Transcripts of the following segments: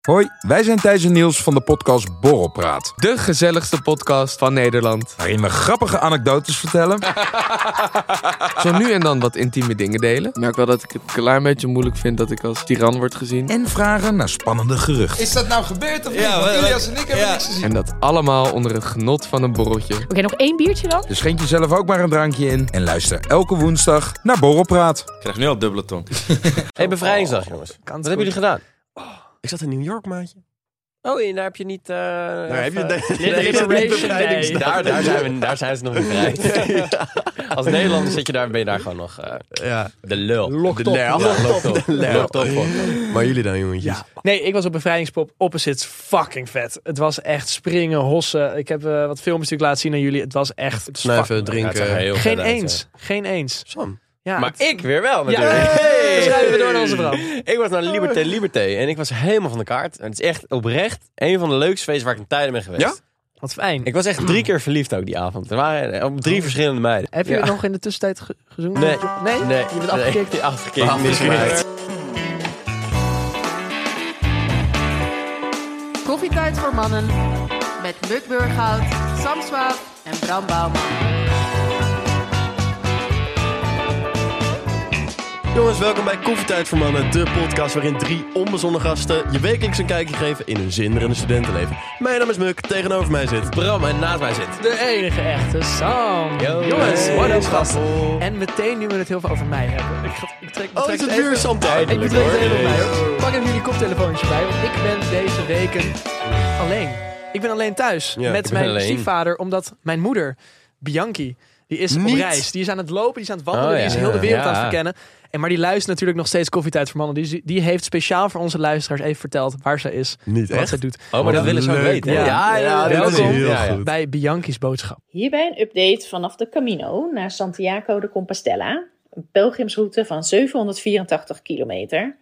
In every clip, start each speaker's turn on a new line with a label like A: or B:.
A: Hoi, wij zijn Thijs en Niels van de podcast Borrelpraat.
B: De gezelligste podcast van Nederland.
A: Waarin we grappige anekdotes vertellen.
B: Zo nu en dan wat intieme dingen delen. Ik merk wel dat ik het een klein beetje moeilijk vind dat ik als tiran word gezien.
A: en vragen naar spannende geruchten.
C: Is dat nou gebeurd of niet?
D: Ja,
C: Want
D: wat-
C: Ilias en ik hebben
D: ja.
C: niks gezien.
B: En dat allemaal onder het genot van een borreltje.
E: Oké, nog één biertje dan?
A: Dus schenk jezelf ook maar een drankje in. En luister elke woensdag naar Borrelpraat.
D: Ik krijg nu al dubbele tong. hey, bevrijdingsdag, jongens. Wat hebben jullie gedaan?
F: Oh, Ik zat in New York, maatje.
D: Oh, en daar heb je niet... eh
F: heb je-
D: even-
F: nee,
D: Nee, daar is het
E: Liberation
D: niet
E: Day.
D: bevrijdingsdag. daar, daar, zijn we, daar zijn ze nog niet bevrijd. Als Nederlander zit je daar, ben je daar gewoon nog eh,
F: Ja.
D: de lul.
F: Locked de lel. De lel.
D: Lul toch voor.
F: Maar jullie dan, jongetjes?
G: Ja. Nee, ik was op bevrijdingspop. Opposites fucking vet. Het was echt springen, hossen. Ik heb eh, wat filmpjes natuurlijk laten zien aan jullie. Het was echt... het is
F: Snuiven,
G: fucking-
F: drinken.
G: Geen eens. Geen eens.
F: Sam.
G: Ja,
D: Maar
G: het-
D: ik weer wel,
G: Ja,
D: natuurlijk.
G: dan schrijven we door naar onze brand.
D: Ik was naar Liberté Liberté en ik was helemaal van de kaart. En het is echt oprecht een van de leukste feesten waar ik in tijden ben geweest.
F: Ja?
G: Wat fijn.
D: Ik was echt drie keer verliefd ook die avond. Er waren eh, op drie verschillende meiden.
G: Heb je
D: Ja.
G: nog in de tussentijd ge- gezoend?
D: Nee.
G: Nee?
D: Nee,
G: Je bent
D: nee,
G: afgekikt?
D: die afgekikt.
F: Afgekikt.
H: Koffietijd voor mannen met Muk Burghout, Sam Swaap en Bram Bouwman.
F: Jongens, welkom bij Koffietijd voor Mannen, de podcast waarin drie onbezonnen gasten je wekelijks een kijkje geven in hun zinderende studentenleven. Mijn naam is Muk, tegenover mij zit.
D: Bram en naast mij zit.
G: De enige echte Sam. Jongens, wat een gast. En meteen nu we het heel veel over mij hebben. Ik, ga, ik trek, ik
F: Oh,
G: trek
F: is Oh, het
G: even-
F: weer Sam
G: Ik
F: tijdelijk
G: betrek het even op
F: hoor.
G: mij. hoor. Pak even jullie koptelefoontje bij, want ik ben deze weken alleen. Ik ben alleen thuis
F: Ja, ik
G: met
F: ben
G: mijn
D: alleen.
G: stiefvader, omdat mijn moeder, Bianchi, die is
F: Niet?
G: op reis. Die is aan het lopen, die is aan het wandelen,
D: Oh,
G: die
D: ja.
G: is heel de wereld
D: Ja.
G: aan het verkennen. En maar die luistert natuurlijk nog steeds Koffietijd voor Mannen. Die, die heeft speciaal voor onze luisteraars even verteld waar zij is,
F: Niet
G: wat
F: echt.
G: zij doet.
D: Oh, maar dat willen ze ook
F: leuk,
D: weten. hè?
G: man.
F: dit is
G: Welkom.
F: heel
D: Ja, ja.
F: goed.
G: Bij Bianchi's boodschap.
I: Hierbij een update vanaf de Camino naar Santiago de Compostela. Een pelgrimsroute van 784 kilometer.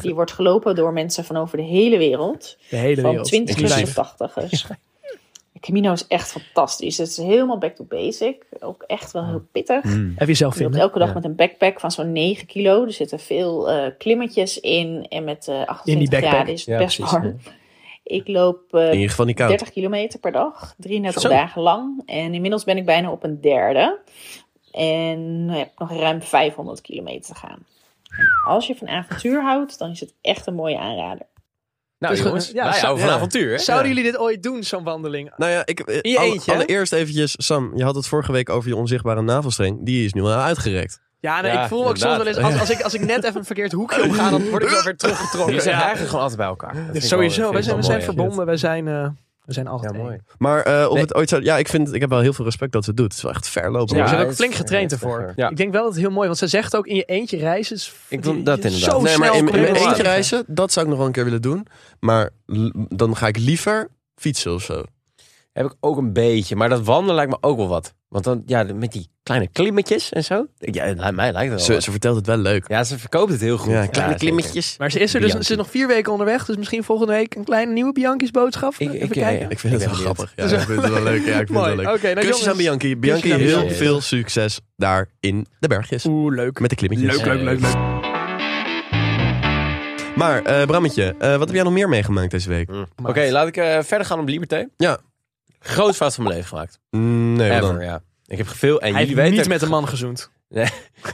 I: Die wordt gelopen door mensen van over de hele wereld.
G: De hele
I: Van
G: wereld.
I: 20
G: inclusief.
I: tot 80ers. De Camino is echt fantastisch. Het is helemaal back to basic. Ook echt wel heel pittig.
G: Heb je zelf
I: Je loopt
G: vinden.
I: elke dag met een backpack van zo'n 9 kilo. Er zitten veel eh, klimmetjes in. En met eh 28
G: backpack.
I: graden is het
D: Ja,
I: best
D: precies,
I: warm. Ik loop eh,
F: In ieder geval niet koud.
I: 30 kilometer per dag, 33
F: Zo.
I: dagen lang. En inmiddels ben ik bijna op een derde. En heb nog ruim 500 kilometer te gaan. Als je van avontuur houdt, dan is het echt een mooie aanrader.
D: Nou
G: Dus
D: jongens,
G: gewoon- ja,
D: wij
G: zo-
D: houden van
F: ja.
D: avontuur. hè?
G: Zouden jullie dit ooit doen, zo'n wandeling?
F: Nou ja, ik, eh,
D: In je
F: alle-
D: eentje, hè?
F: allereerst eventjes, Sam, je had het vorige week over je onzichtbare navelstreng. Die is nu al uitgerekt.
G: Ja, nee,
D: Ja,
G: ik voel ook soms wel eens, als, als, ik, als ik net even een verkeerd hoekje omga, dan word ik wel weer teruggetrokken.
D: Jullie zijn
G: Ja.
D: eigenlijk gewoon altijd bij elkaar. Dat vind
G: Dus
D: ik wel-
G: sowieso,
D: vind
G: wij
D: ik
G: zijn, we
D: wel
G: zijn
D: mooi, hè.
G: verbonden, wij zijn, eh we zijn altijd
D: Ja, mooi.
F: Maar eh, of
D: Nee.
F: het ooit zou... Ja, ik, vind, ik heb wel heel veel respect dat ze het doet. Het is wel echt ver lopen.
G: Ja, we
F: hoor.
D: Ja,
G: zijn ook
D: het is-
G: flink getraind
D: het is
G: ervoor.
D: echt, ja.
G: Ik denk wel dat het heel mooi, want ze zegt ook in je eentje reizen is
D: Ik wil
G: je-
D: dat
G: je-
D: inderdaad.
G: Zo
F: nee,
G: snel
F: maar in, in
G: kom je
F: mijn
G: er wel
F: eentje
G: aan.
F: reizen, dat zou ik nog wel een keer willen doen. Maar l- dan ga ik liever fietsen of zo.
D: Heb ik ook een beetje, maar dat wandelen lijkt me ook wel wat. Want dan, ja, met die kleine klimmetjes en zo. Ja, het lijkt- mij lijkt het wel
F: Ze,
D: wat.
F: ze vertelt het wel leuk.
D: Ja, ze verkoopt het heel goed.
F: Ja, kleine
D: zeker.
F: klimmetjes.
G: Maar ze is er dus,
D: Bianchi.
G: ze is nog vier weken onderweg, dus misschien volgende week een kleine nieuwe Bianchi's boodschap.
D: Ik-
G: Even
D: ik- ja,
G: kijken.
D: ja.
F: Ik vind het
D: ben
F: wel
D: benieuwd.
F: grappig. Ja, ik vind het wel leuk. Ja, ik vind het wel
G: Mooi,
F: leuk.
G: oké. nou
F: Kusjes aan
G: jongens.
F: Bianchi. Bianchi,
G: aan
F: heel
D: Bianchi.
F: veel succes daar in de bergjes.
G: Oeh, leuk.
F: Met de klimmetjes.
D: Leuk, leuk, leuk, leuk.
F: Maar eh, Brammetje, eh, wat heb jij nog meer meegemaakt deze week?
G: Mm.
D: Hm. Oké, laat ik eh, verder gaan op Liberté.
F: Ja.
D: Groot fout van mijn leven gemaakt.
F: Mm, Nee, wat
D: Ever,
F: dan?
D: ja. Ik heb veel, en
G: Hij
D: jullie
G: heeft
D: weten,
G: niet met een man gezoend.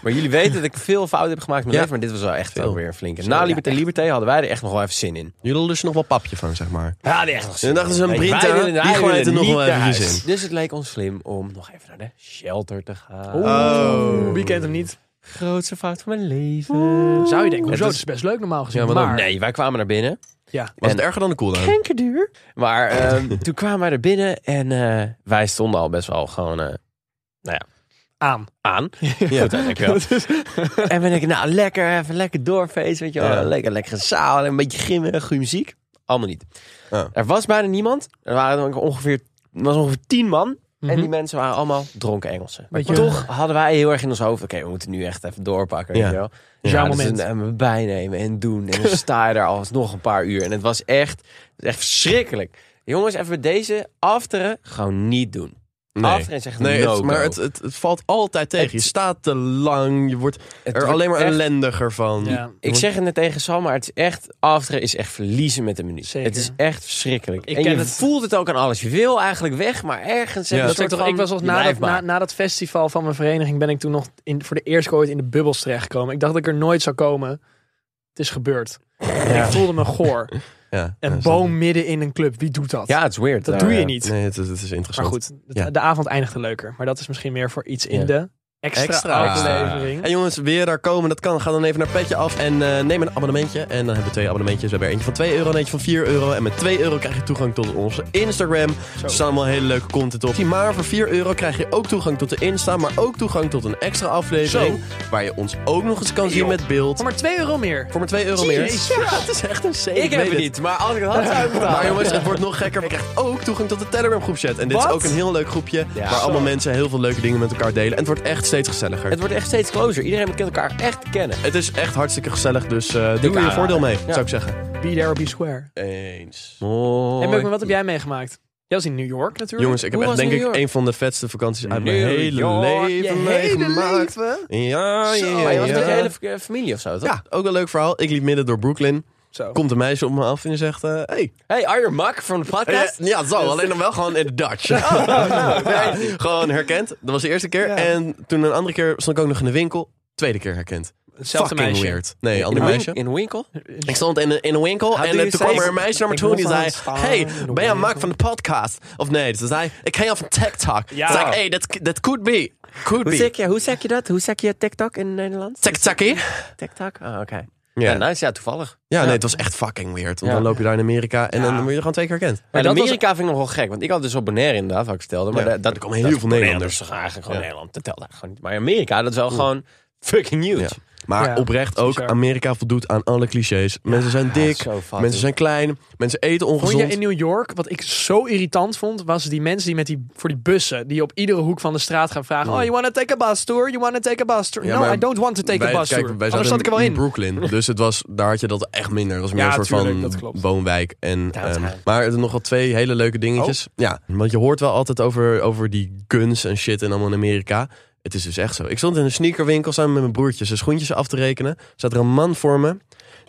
D: maar jullie weten dat ik veel fouten heb gemaakt in mijn
F: Ja.
D: leven, maar dit was wel echt
F: Veel.
D: wel weer een flinke. Na Liberté Liberté hadden wij er echt nog wel even zin in.
F: Jullie hadden dus nog wel papje van, zeg maar.
D: Ja, die echt nog
F: En dan dachten ze, een
D: Nee,
F: Brinta,
D: wij willen-
F: die
D: wij
F: gooit
D: willen
F: er nog
D: niet
F: wel
D: naar
F: eventjes
D: huis. Dus het leek ons slim om nog even naar de shelter te gaan.
G: Oeh,
F: Oh.
G: wie kent hem niet?
D: Grootste fout van mijn leven.
G: Zou je denken, hoezo?
D: was-
G: Het is best leuk normaal gezien,
F: Ja, maar dan-
G: maar...
D: Nee, wij kwamen naar binnen.
G: Ja.
F: Was
D: En-
F: het erger dan de cooldown?
D: Kenkerduur. Maar ehm, toen kwamen wij er binnen en eh, wij stonden al best wel gewoon eh,
G: Aan.
D: aan. Goed, hè, dankjewel. en ben ik, nou lekker, even lekker doorfeest, weet je wel.
F: Ja.
D: Lekker, lekker zaal, een beetje gimmen, goede muziek. Allemaal niet.
F: Ja.
D: Er was bijna niemand. Er waren ongeveer, er was ongeveer tien man. En
G: Mhm.
D: die mensen waren allemaal dronken Engelsen. Maar
G: Beetje-
D: toch hadden wij heel erg in ons hoofd... oké, we moeten nu echt even doorpakken.
F: Ja.
D: Weet je wel.
G: Ja,
D: dus
G: moment.
D: dan, En we bijnemen en doen. En dan sta je daar alsnog een paar uur. En het was echt, echt verschrikkelijk. Jongens, even met deze afteren gewoon niet doen. achter en zegt
F: Nee,
D: no
F: het, maar
D: go.
F: het, het, het valt altijd tegen. Je
D: Het-
F: staat te lang. Je wordt
D: Het
F: er
D: wordt
F: alleen maar
D: echt-
F: ellendiger van.
G: Ja.
D: Ik zeg het net tegen Sam, maar het is echt, afteren is echt verliezen met een minuut.
G: Zeker.
D: Het is echt verschrikkelijk.
G: Ik
D: en
G: ken
D: je
G: het.
D: voelt het ook aan alles. Je wil eigenlijk weg, maar ergens... heb
F: Ja.
D: je
G: Dat ik,
D: een soort
G: toch,
D: van-
G: ik was als
D: je
G: na, dat,
D: blijft
G: na,
D: maar.
G: na dat festival van mijn vereniging ben ik toen nog in, voor de eerst ooit in de bubbels terechtgekomen. Ik dacht dat ik er nooit zou komen. Het is gebeurd. En Ik voelde me goor.
F: Ja,
G: Een
F: ja,
G: boom midden in een club. Wie doet dat?
D: Ja, het is weird.
G: dat
D: daar,
G: doe je
D: ja.
G: niet.
F: Nee, het, is- het is
G: maar
F: interessant.
G: goed, het-
F: Ja.
G: de avond eindigde leuker. Maar dat is misschien meer voor iets in
D: Ja.
G: de extra,
F: Extra.
G: aflevering.
F: En jongens, weer daar komen, dat kan. Ga dan even naar Petje af en eh, neem een abonnementje. En dan hebben we twee abonnementjes. We hebben er eentje van 2 euro en eentje van 4 euro. En met 2 euro krijg je toegang tot onze Instagram. Er staan allemaal hele leuke content op. Maar voor 4 euro krijg je ook toegang tot de Insta. Maar ook toegang tot een extra aflevering. Waar je ons ook nog eens kan zien met beeld.
G: Voor Oh, maar 2 euro meer.
F: Voor maar 2 euro meer.
G: Jezus.
F: Ja, het is echt een zegen.
D: Ik heb
F: weet
D: het niet, maar als ik het had, zou ik het
F: Maar
D: halen.
F: jongens, het wordt nog gekker. Je krijgt ook toegang tot de Telegram groepchat. En dit is
D: Wat?
F: ook een heel leuk groepje.
D: Ja.
F: Waar allemaal
D: Zo.
F: mensen heel veel leuke dingen met elkaar delen. En het wordt echt steeds gezelliger.
D: Het wordt echt steeds closer. Iedereen kent elkaar echt kennen.
F: Het is echt hartstikke gezellig, dus eh, doe er je
D: aanrader.
F: voordeel mee,
D: Ja.
F: zou ik zeggen.
G: Be there or be square.
F: Eens.
G: En Beukman, wat heb jij meegemaakt? Jij was in New York natuurlijk.
F: Jongens, ik heb
D: Hoe
F: echt
D: was
F: denk
D: New
F: ik
D: York?
F: een van de vetste vakanties uit mijn
D: New
F: hele
D: York, je
F: leven
G: hele
F: meegemaakt. Ja, ja,
D: Maar je was met je
F: ja.
D: hele v- eh, familie of zo, toch?
F: Ja, ook een leuk verhaal. Ik liep midden door Brooklyn.
G: Zo.
F: Komt een meisje op me af en die zegt... eh, hey.
D: Hey, are you Mak van de
F: Eh,
D: podcast?
F: ja, zo.
G: Dus-
F: Alleen dan wel gewoon in het Dutch.
G: Oh,
F: Nee, gewoon herkend. Dat was de eerste keer. En toen een andere keer stond ik ook nog in de winkel. Tweede keer herkend.
G: Hetzelfde
F: Fucking
G: meisje.
F: weird. Nee,
D: in,
F: ander
D: Win-
F: meisje.
D: in Winkel?
F: Ik stond in, een- in een winkel
D: How
F: en eh,
D: do you
F: toen
D: say-
F: kwam er een meisje naar me
G: Ik
F: toe en
G: wil
F: die zei...
G: staan
F: Hey,
G: in de
F: ben jij Mark
G: winkel.
F: van de podcast? Of nee, ze zei... Ik ken jou van TikTok. Ze
G: Ja.
F: zei ik, hey, that, that could be. Could
D: Hoe
F: be.
D: zeg, je, hoe zeg je dat? Hoe zeg je TikTok in Nederland?
F: TikTokie.
D: TikTok? Ah, oké.
F: Ja.
D: Ja, nice. Ja, toevallig.
F: Ja, nee, het was echt fucking weird. Want
D: Ja.
F: dan loop je daar in Amerika en dan word je er gewoon twee keer herkend.
D: Maar
G: dat was-
D: Amerika vind ik nog wel gek. Want ik had dus op Bonaire inderdaad, wat ik vertelde. Maar
F: Ja,
D: da- dat,
F: er komen heel veel Nederlanders.
D: Dat is toch eigenlijk gewoon
F: Ja.
D: Nederland. Dat telt eigenlijk gewoon niet. Maar Amerika, dat is wel gewoon fucking huge.
F: Ja. Maar
G: Ja,
F: oprecht
G: dat is
F: ook,
G: bizar.
F: Amerika voldoet aan alle clichés. Mensen zijn dik,
D: zo fout,
F: mensen
D: hè.
F: zijn klein, mensen eten
G: Vond je
F: ongezond.
G: in New York, wat ik zo irritant vond, was die mensen die met die, voor die bussen, die op iedere hoek van de straat gaan vragen, oh, you wanna take a bus tour? You wanna take a bus tour?
F: Ja,
G: no,
F: maar
G: I don't want to take
F: Wij-
G: a bus
F: kijk,
G: tour.
F: wij
G: Anders
F: zaten
G: zat ik er wel in.
F: Brooklyn, dus het was, daar had je dat echt minder. Het was meer
G: Ja,
F: een soort
G: tuurlijk, dat
F: van
G: klopt.
F: woonwijk. En,
D: Ja, dat
F: ehm,
D: gaat.
F: maar er nog wel twee hele leuke dingetjes.
G: Oh.
F: Ja, want je hoort wel altijd over, over die guns en shit en allemaal in Amerika. Het is dus echt zo. Ik stond in een sneakerwinkel samen met mijn broertje zijn schoentjes af te rekenen. Zat er een man voor me.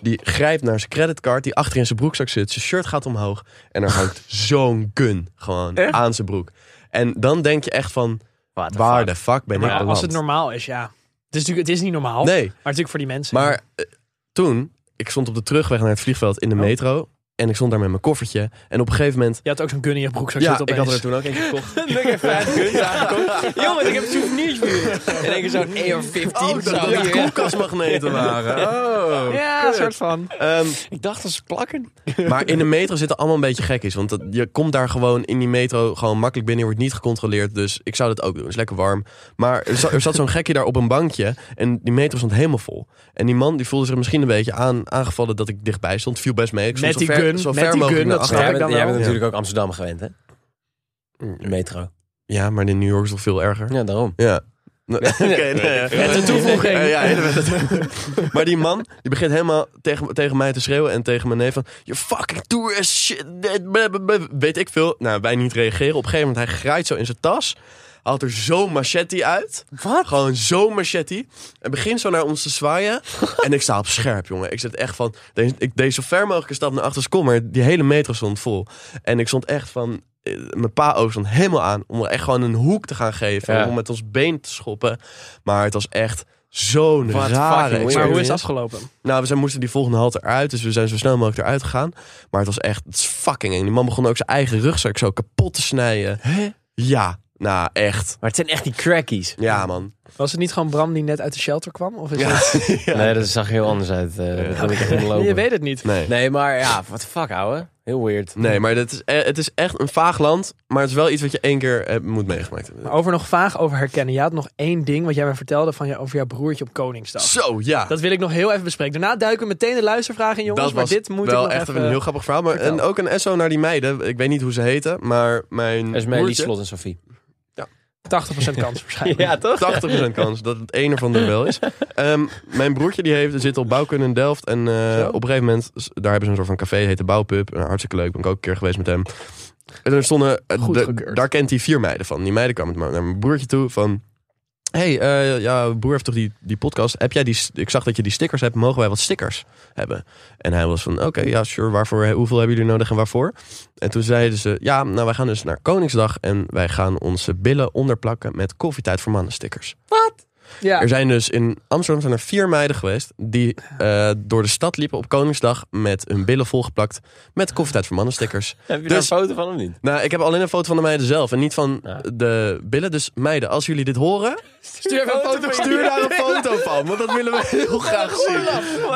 F: Die grijpt naar zijn creditcard, die achter in zijn broekzak zit. Zijn shirt gaat omhoog. En er hangt zo'n gun gewoon aan zijn broek. En dan denk je echt van,
D: What the
F: waar
D: fuck?
F: de fuck ben
G: Maar
F: ik beland?
G: als het normaal is, ja. Het is natuurlijk het is niet normaal, maar
F: Nee,
G: natuurlijk voor die mensen.
F: maar eh, toen, ik stond op de terugweg naar het vliegveld
G: Oh.
F: in de metro. En ik stond daar met mijn koffertje. En op een gegeven moment...
G: je had ook zo'n gun in je broekzak
F: Ja,
G: zitten
F: ik had
G: opeens.
F: er toen ook eentje gekocht.
D: Ik heb vijf kunst aangekocht. Jongens, ik heb souvenirs voor jullie. En ik heb zo'n AR-15
B: Oh,
D: zo hier.
F: koelkastmagneten waren. Oh, Ehm,
G: Ja, een soort van.
D: Ik dacht, dat ze plakken.
F: maar in de metro zitten allemaal een beetje gekkies. Want dat- je komt daar gewoon in die metro gewoon makkelijk binnen. Je wordt niet gecontroleerd. Dus ik zou dat ook doen. Het is lekker warm. Maar er, za- er zat zo'n gekkie daar op een bankje. En die metro stond helemaal vol. En die man die voelde zich misschien een beetje aan, aangevallen dat ik dichtbij stond. Viel best mee. Ik stond
G: Met
F: zo
G: die
F: ver,
G: gun,
F: zo
G: met
F: ver
G: die
F: mogelijk
G: gun,
F: naar
G: dat
F: achteren.
G: snap
D: Jij
G: ik
D: bent,
G: dan
D: jij
G: wel.
D: bent natuurlijk ook Amsterdam gewend, hè? De metro.
F: Ja, maar in New York is het nog veel erger.
D: Ja, daarom.
F: Ja. Oké, nee.
G: Met de toevoeging.
F: Eh, ja, hele wet. maar die man, die begint helemaal tegen, tegen mij te schreeuwen en tegen mijn neef van... Je fucking tourist shit, dit, blub, blub, blub." weet ik veel. Nou, wij niet reageren. Op een gegeven moment, hij graait zo in zijn tas. Haalt er zo'n machete uit. Wat? Gewoon zo'n machete. En begint zo naar ons te zwaaien. en ik sta op scherp, jongen. Ik zit echt van... de- Ik deed zo ver mogelijk een stap naar achter. Kom, maar die hele metro stond vol. En ik stond echt van... eh, Mijn pa ook stond helemaal aan om er echt gewoon een hoek te gaan geven.
D: Ja.
F: Om met ons been te schoppen. Maar het was echt zo'n
D: Wat
F: rare
G: Maar
D: fucking weird.
G: hoe is
F: experience.
G: het afgelopen?
F: Nou, we zijn, moesten die volgende halte eruit. Dus we zijn zo snel mogelijk eruit gegaan. Maar het was echt het is fucking eng. Die man begon ook zijn eigen rugzak zo kapot te snijden. Ja, nou echt.
D: Maar het zijn echt die crackies.
F: Ja, man.
G: Was het niet gewoon Bram die net uit de shelter kwam? Of is
F: Ja.
G: het...
D: Nee, dat zag heel anders uit. eh, dat heb ik echt niet
G: Nee,
D: lopen.
G: je weet het niet.
F: Nee.
D: Nee, maar ja, wat fuck, ouwe. Heel weird.
F: Nee, maar dat is, eh, het is echt een vaag land. Maar het is wel iets wat je één keer eh, moet meegemaakt hebben.
G: Maar over nog vaag over herkennen. Je had nog één ding wat jij mij vertelde van je, over jouw broertje op Koningsdag.
F: Zo, ja.
G: Dat wil ik nog heel even bespreken. Daarna duiken we meteen de luistervraag in, jongens.
F: dat
G: maar
F: was
G: dit moet ik
F: wel
G: nog
F: echt
G: even...
F: een heel grappig verhaal. Maar, en
G: vertel.
F: ook een SO naar die meiden. Ik weet niet hoe ze heten, maar mijn
D: Esmee, Lies,
F: broertje-
D: Slot en Sophie.
G: 80% kans waarschijnlijk.
F: 80% kans dat het een ervan er wel is. Ehm, mijn broertje die heeft, zit op bouwkunde in Delft. En eh, op een gegeven moment, s- daar hebben ze een soort van café, heet de Bouwpub. En hartstikke leuk, ben ik ook een keer geweest met hem. En er stonden, eh,
G: Goedgekeurd.
F: de- daar kent hij vier meiden van. Die meiden kwamen naar mijn broertje toe van... hey, eh, ja, broer heeft toch die, die podcast? Heb jij die, st- ik zag dat je die stickers hebt. Mogen wij wat stickers hebben? En hij was van, oké, ja, sure. Waarvoor, hoeveel hebben jullie nodig en waarvoor? En toen zeiden ze, ja, nou, wij gaan dus naar Koningsdag... en wij gaan onze billen onderplakken met Koffietijd voor Mannen stickers.
G: Ja.
F: Er zijn dus in Amsterdam zijn er vier meiden geweest die eh, door de stad liepen op Koningsdag met hun billen volgeplakt met koffietijd voor mannen stickers.
D: Heb je
F: daar
D: daar
F: een
D: een foto van of niet?
F: Nou, ik heb alleen een foto van de meiden zelf en niet van
D: Ja.
F: de billen. Dus meiden, als jullie dit horen,
G: Stuur even een
F: Oh,
G: foto van
F: stuur daar een foto van, want dat willen we heel graag zien.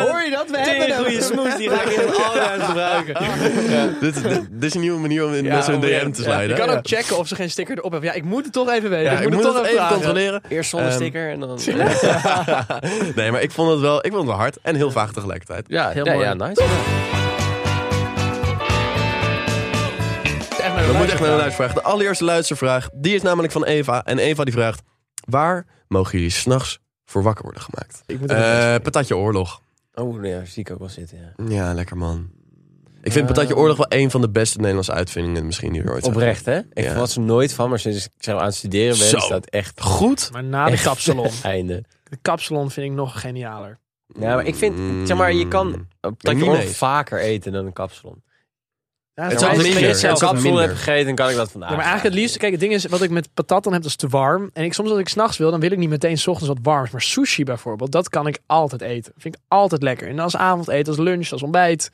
G: Hoor je dat? We hebben hem.
D: goede smoes, die ga ik in allemaal gebruiken.
F: Dit, dit, dit is een nieuwe manier om in
G: Ja,
F: mensen hun DM
G: oprecht.
F: te
G: Je
F: slijden.
G: kan ook checken of ze geen sticker erop hebben. Ja, ik moet het toch even weten.
F: Ja, ik moet
G: het
F: het
G: toch
F: even
G: vragen.
F: controleren.
D: Eerst zonder
F: Ehm,
D: sticker en dan...
F: nee, maar ik vond het wel, ik vond het wel hard en heel vaag tegelijkertijd.
D: Ja,
G: Heel
D: ja,
G: mooi.
D: ja, nice.
G: Echt naar de
F: Dat moet echt
G: luisteraar.
F: naar de luistervraag. De allereerste luistervraag, die is namelijk van Eva. En Eva die vraagt, waar mogen jullie s'nachts voor wakker worden gemaakt?
G: Ik moet er even-
F: Eh patatje oorlog.
D: Oh, ja, zie ik ook wel zitten, ja.
F: Ja, lekker man. Ik vind
G: Ehm.
F: patatje oorlog wel een van de beste Nederlandse uitvindingen misschien die er ooit zijn.
D: Oprecht, hè? Ik
F: Ja.
D: was er nooit van, maar sinds ik zo aan het studeren ben,
F: Zo.
D: is dat echt
F: Goed.
G: Maar na de
D: Echt.
G: kapsalon.
D: einde.
G: De kapsalon vind ik nog genialer.
D: Ja, maar ik vind, zeg maar,
F: Mm.
D: je kan een
F: niet
D: patatje oorlog
F: mee.
D: vaker eten dan een kapsalon.
G: Ja,
F: Het
G: maar
F: is
G: als
F: ook
G: ik
F: minder.
G: het zelf-
F: Het is ook
D: kapsalon
F: minder.
D: heb gegeten, kan ik dat vandaag.
G: Ja, maar eigenlijk het liefst, kijk, het ding is, wat ik met patat dan heb, dat is te warm. En ik, soms als ik s'nachts wil, dan wil ik niet meteen 's ochtends wat warms. Maar sushi bijvoorbeeld, dat kan ik altijd eten. Vind ik altijd lekker. En als avondeten, als lunch, als ontbijt.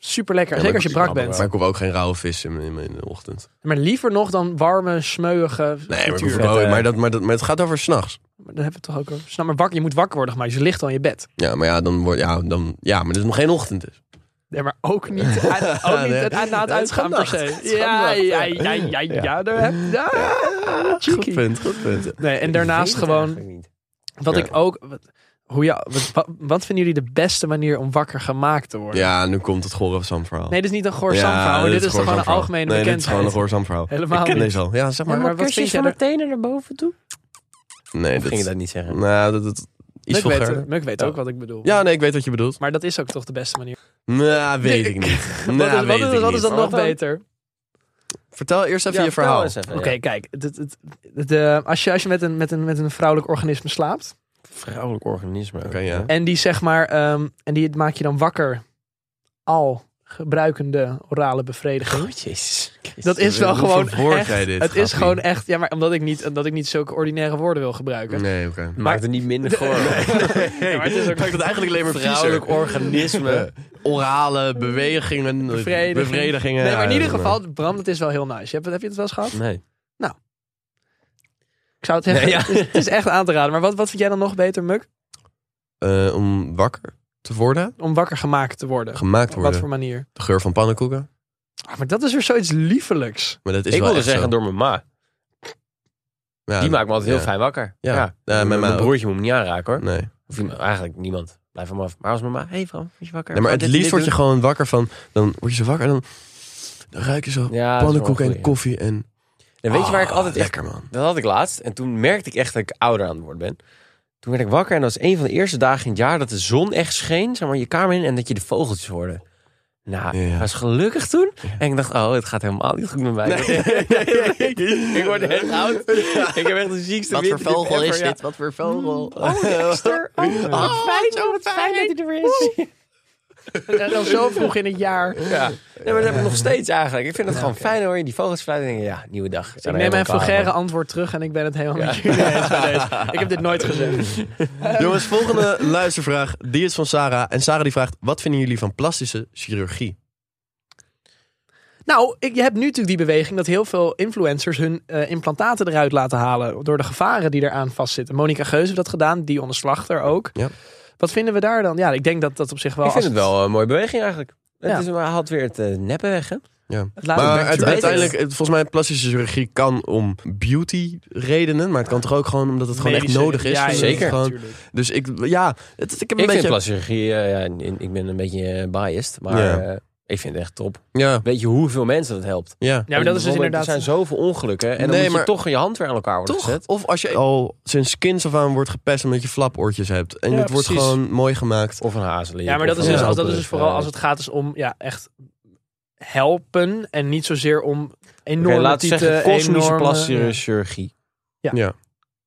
G: Super lekker,
F: Ja,
G: zeker
F: maar
G: als je
F: ik-
G: brak
F: maar
G: bent.
F: Maar ik hoef ook geen rauwe vis in, in, in de ochtend.
G: Maar liever nog dan warme, smeuige
F: Nee, maar, ik
G: frituur.
F: hoef wel-
D: eh,
F: maar, dat, maar, dat, maar het gaat over s'nachts.
G: Maar daar hebben we het toch ook over. Snap maar wakker, je moet wakker worden gemaakt. Dus je ligt al in je bed.
F: Ja, maar ja, dan wordt, ja, dan, ja, maar het is nog geen ochtend dus.
G: Nee, maar ook niet, uit- ook niet
F: nee.
G: het- na het
F: Het is
G: uitgaan per se.
F: vannacht.
G: Ja, ja, ja, ja, ja, daar heb ja.
F: Goed
G: Cheeky.
F: punt, goed punt.
G: Nee, en daarnaast gewoon, wat
F: Ja.
G: ik ook... Wat, hoe ja, wat, wat- wat vinden jullie de beste manier om wakker gemaakt te worden?
F: Ja, nu komt het gore Sam verhaal.
G: Nee, dit is niet een Gorsam verhaal. maar Dit is toch gewoon een algemene
F: nee, dit is gewoon
G: bekendheid?
F: een gore Sam verhaal.
G: Helemaal
F: ik ken
G: niet.
F: deze al. Ja, zeg maar.
G: maar wat vind jij daar-
D: tenen naar boven toe?
F: Nee,
D: Of ging je
F: dat...
D: dat niet zeggen?
F: Nou, dat, dat iets
G: Muk
F: vulgairder.
G: weet, Muk weet ook wat ik bedoel.
F: Ja, nee, ik weet wat je bedoelt.
G: Maar dat is ook toch de beste manier.
F: Nou, weet ik niet. Nou,
G: wat is, wat
F: weet
G: is,
F: ik
G: wat is
F: niet.
G: dat nog
D: Wat dan?
G: beter?
F: Vertel eerst even
D: Ja,
F: je
D: vertel
F: verhaal.
D: eens even,
G: Oké,
D: ja.
G: kijk. Het, het, het- het, eh, als je, als je met, een, met, een, met een vrouwelijk organisme slaapt...
D: Vrouwelijk organisme.
F: Oké, ja.
G: En die zeg maar, ehm, en die maak je dan wakker al gebruikende orale bevrediging.
D: Oh, jezus.
G: Dat is wel
F: Hoeveel
G: gewoon
F: woord jij
G: echt,
F: dit,
G: het is
F: Gappie?
G: gewoon echt, ja maar omdat ik niet, omdat ik niet zulke ordinaire woorden wil gebruiken.
F: Nee, oké.
D: Maakt het niet minder goor.
G: Ja, maar het is ook
F: Maakt het eigenlijk alleen maar viezer.
D: Vrouwelijk organisme.
F: Orale bewegingen,
G: Bevrediging.
F: bevredigingen.
G: Nee, maar in
F: Ja,
G: ieder
F: dat-
G: geval, Bram, dat is wel heel nice. Je hebt, heb je het wel eens gehad?
D: eh, Nee.
G: Ik zou het zeggen,
D: Nee, ja.
G: het, is, het is echt aan te raden. Maar wat, wat vind jij dan nog beter, Muk?
F: Eh, om wakker te worden,
G: Om wakker gemaakt te worden.
F: gemaakt
G: Op wat
F: worden.
G: voor manier?
F: De geur van pannenkoeken.
G: Ah, maar dat is weer zoiets liefelijks.
F: Maar dat is
D: Ik
F: wel
D: wilde
F: echt zo.
D: zeggen door mijn ma.
F: Ja,
D: Die maakt me altijd heel
F: ja.
D: fijn wakker.
F: Ja. Ja,
D: Mijn-
F: mijn ma
D: mijn
F: ook.
D: broertje moet me niet aanraken hoor.
F: Nee.
D: Of die- eigenlijk niemand. Blijf hem af. Maar als mijn ma, hey Bram, word je wakker?
F: nee, maar
D: Gaan
F: het
D: dit en dit
F: liefst word je
D: doen?
F: gewoon wakker van... Dan word je zo wakker en dan, dan ruik je zo
D: Ja, dat is wel
F: pannenkoeken
D: een
F: en
D: goeie.
F: koffie. En,
D: En weet je waar ik
F: Ah,
D: altijd echt
F: Lekker, man.
D: Dat had ik laatst. En toen merkte ik echt dat ik ouder aan het worden ben. Toen werd ik wakker en dat was een van de eerste dagen in het jaar dat de zon echt scheen. Zeg maar je kamer in en dat je de vogeltjes hoorde. Nou,
F: Ja.
D: ik was gelukkig toen. En ik dacht, oh, het gaat helemaal niet goed met mij. ik word echt oud. Ik heb echt de ziekste
F: Wat voor
D: winter
F: vogel
D: ever,
F: is
D: ja.
F: dit? Wat voor vogel?
G: Ah,
D: Oh, fijn, zo fijn dat hij er is.
G: En dan zo vroeg in het jaar.
D: Ja. Nee, maar dat heb ik nog steeds eigenlijk. Ik vind het gewoon fijn hoor. je Die vogels fluiten en denk je, ja, nieuwe dag.
G: Ik neem mijn vulgaire antwoord terug en ik ben het helemaal met jullie eens bij deze. Ik heb dit nooit gezegd.
F: Jongens, volgende luistervraag. Die is van Sarah. En Sarah die vraagt, wat vinden jullie van plastische chirurgie?
G: Nou, ik, je hebt nu natuurlijk die beweging dat heel veel influencers hun eh, implantaten eruit laten halen. Door de gevaren die eraan vastzitten. Monica Geus heeft dat gedaan, Dionne Slachter ook.
F: Ja.
G: Wat vinden we daar dan? Ja, ik denk dat dat op zich wel...
D: Ik vind
G: als
D: het wel een mooie beweging eigenlijk. Het
G: Ja.
D: is, maar haalt weer het eh, neppen weg, hè?
F: Ja.
G: Het laat
F: maar
G: back to
F: uite-
G: basics.
F: uiteindelijk, het- volgens mij, plastische chirurgie kan om beauty redenen. Maar het kan toch ook gewoon omdat het gewoon
G: medische-
F: echt nodig is.
G: Ja, ja,
F: Omdat het
D: zeker.
F: gewoon-
G: natuurlijk.
F: dus ik, ja, het, ik heb een
D: ik
F: beetje...
D: vind plastische chirurgie, eh, ja, in- in- ik ben een beetje eh, biased, maar
F: Ja.
D: eh, ik vind het echt top.
F: ja,
D: Weet je hoeveel mensen dat helpt?
F: ja.
G: Ja, maar dat is dus
D: Bijvoorbeeld,
G: inderdaad...
D: Er zijn zoveel ongelukken en
F: Nee,
D: dan moet
F: maar-
D: je toch je hand weer aan elkaar worden
F: Toch?
D: gezet.
F: Of als je al sinds kinds af aan wordt gepest omdat je flapoortjes hebt. En
G: Ja,
F: het wordt
G: precies.
F: gewoon mooi gemaakt.
D: Of een hazelen.
G: Ja, maar dat
D: of
G: is,
D: een eh,
G: dus,
F: Ja,
G: als, dat is
D: appel,
G: dus
D: of,
G: vooral
D: eh,
G: als het gaat dus om ja, echt helpen en niet zozeer om enorme
D: Oké, laat
G: tieten,
D: zeggen kosmische
G: enorme-
D: plastische chirurgie.
G: Ja.
F: Ja.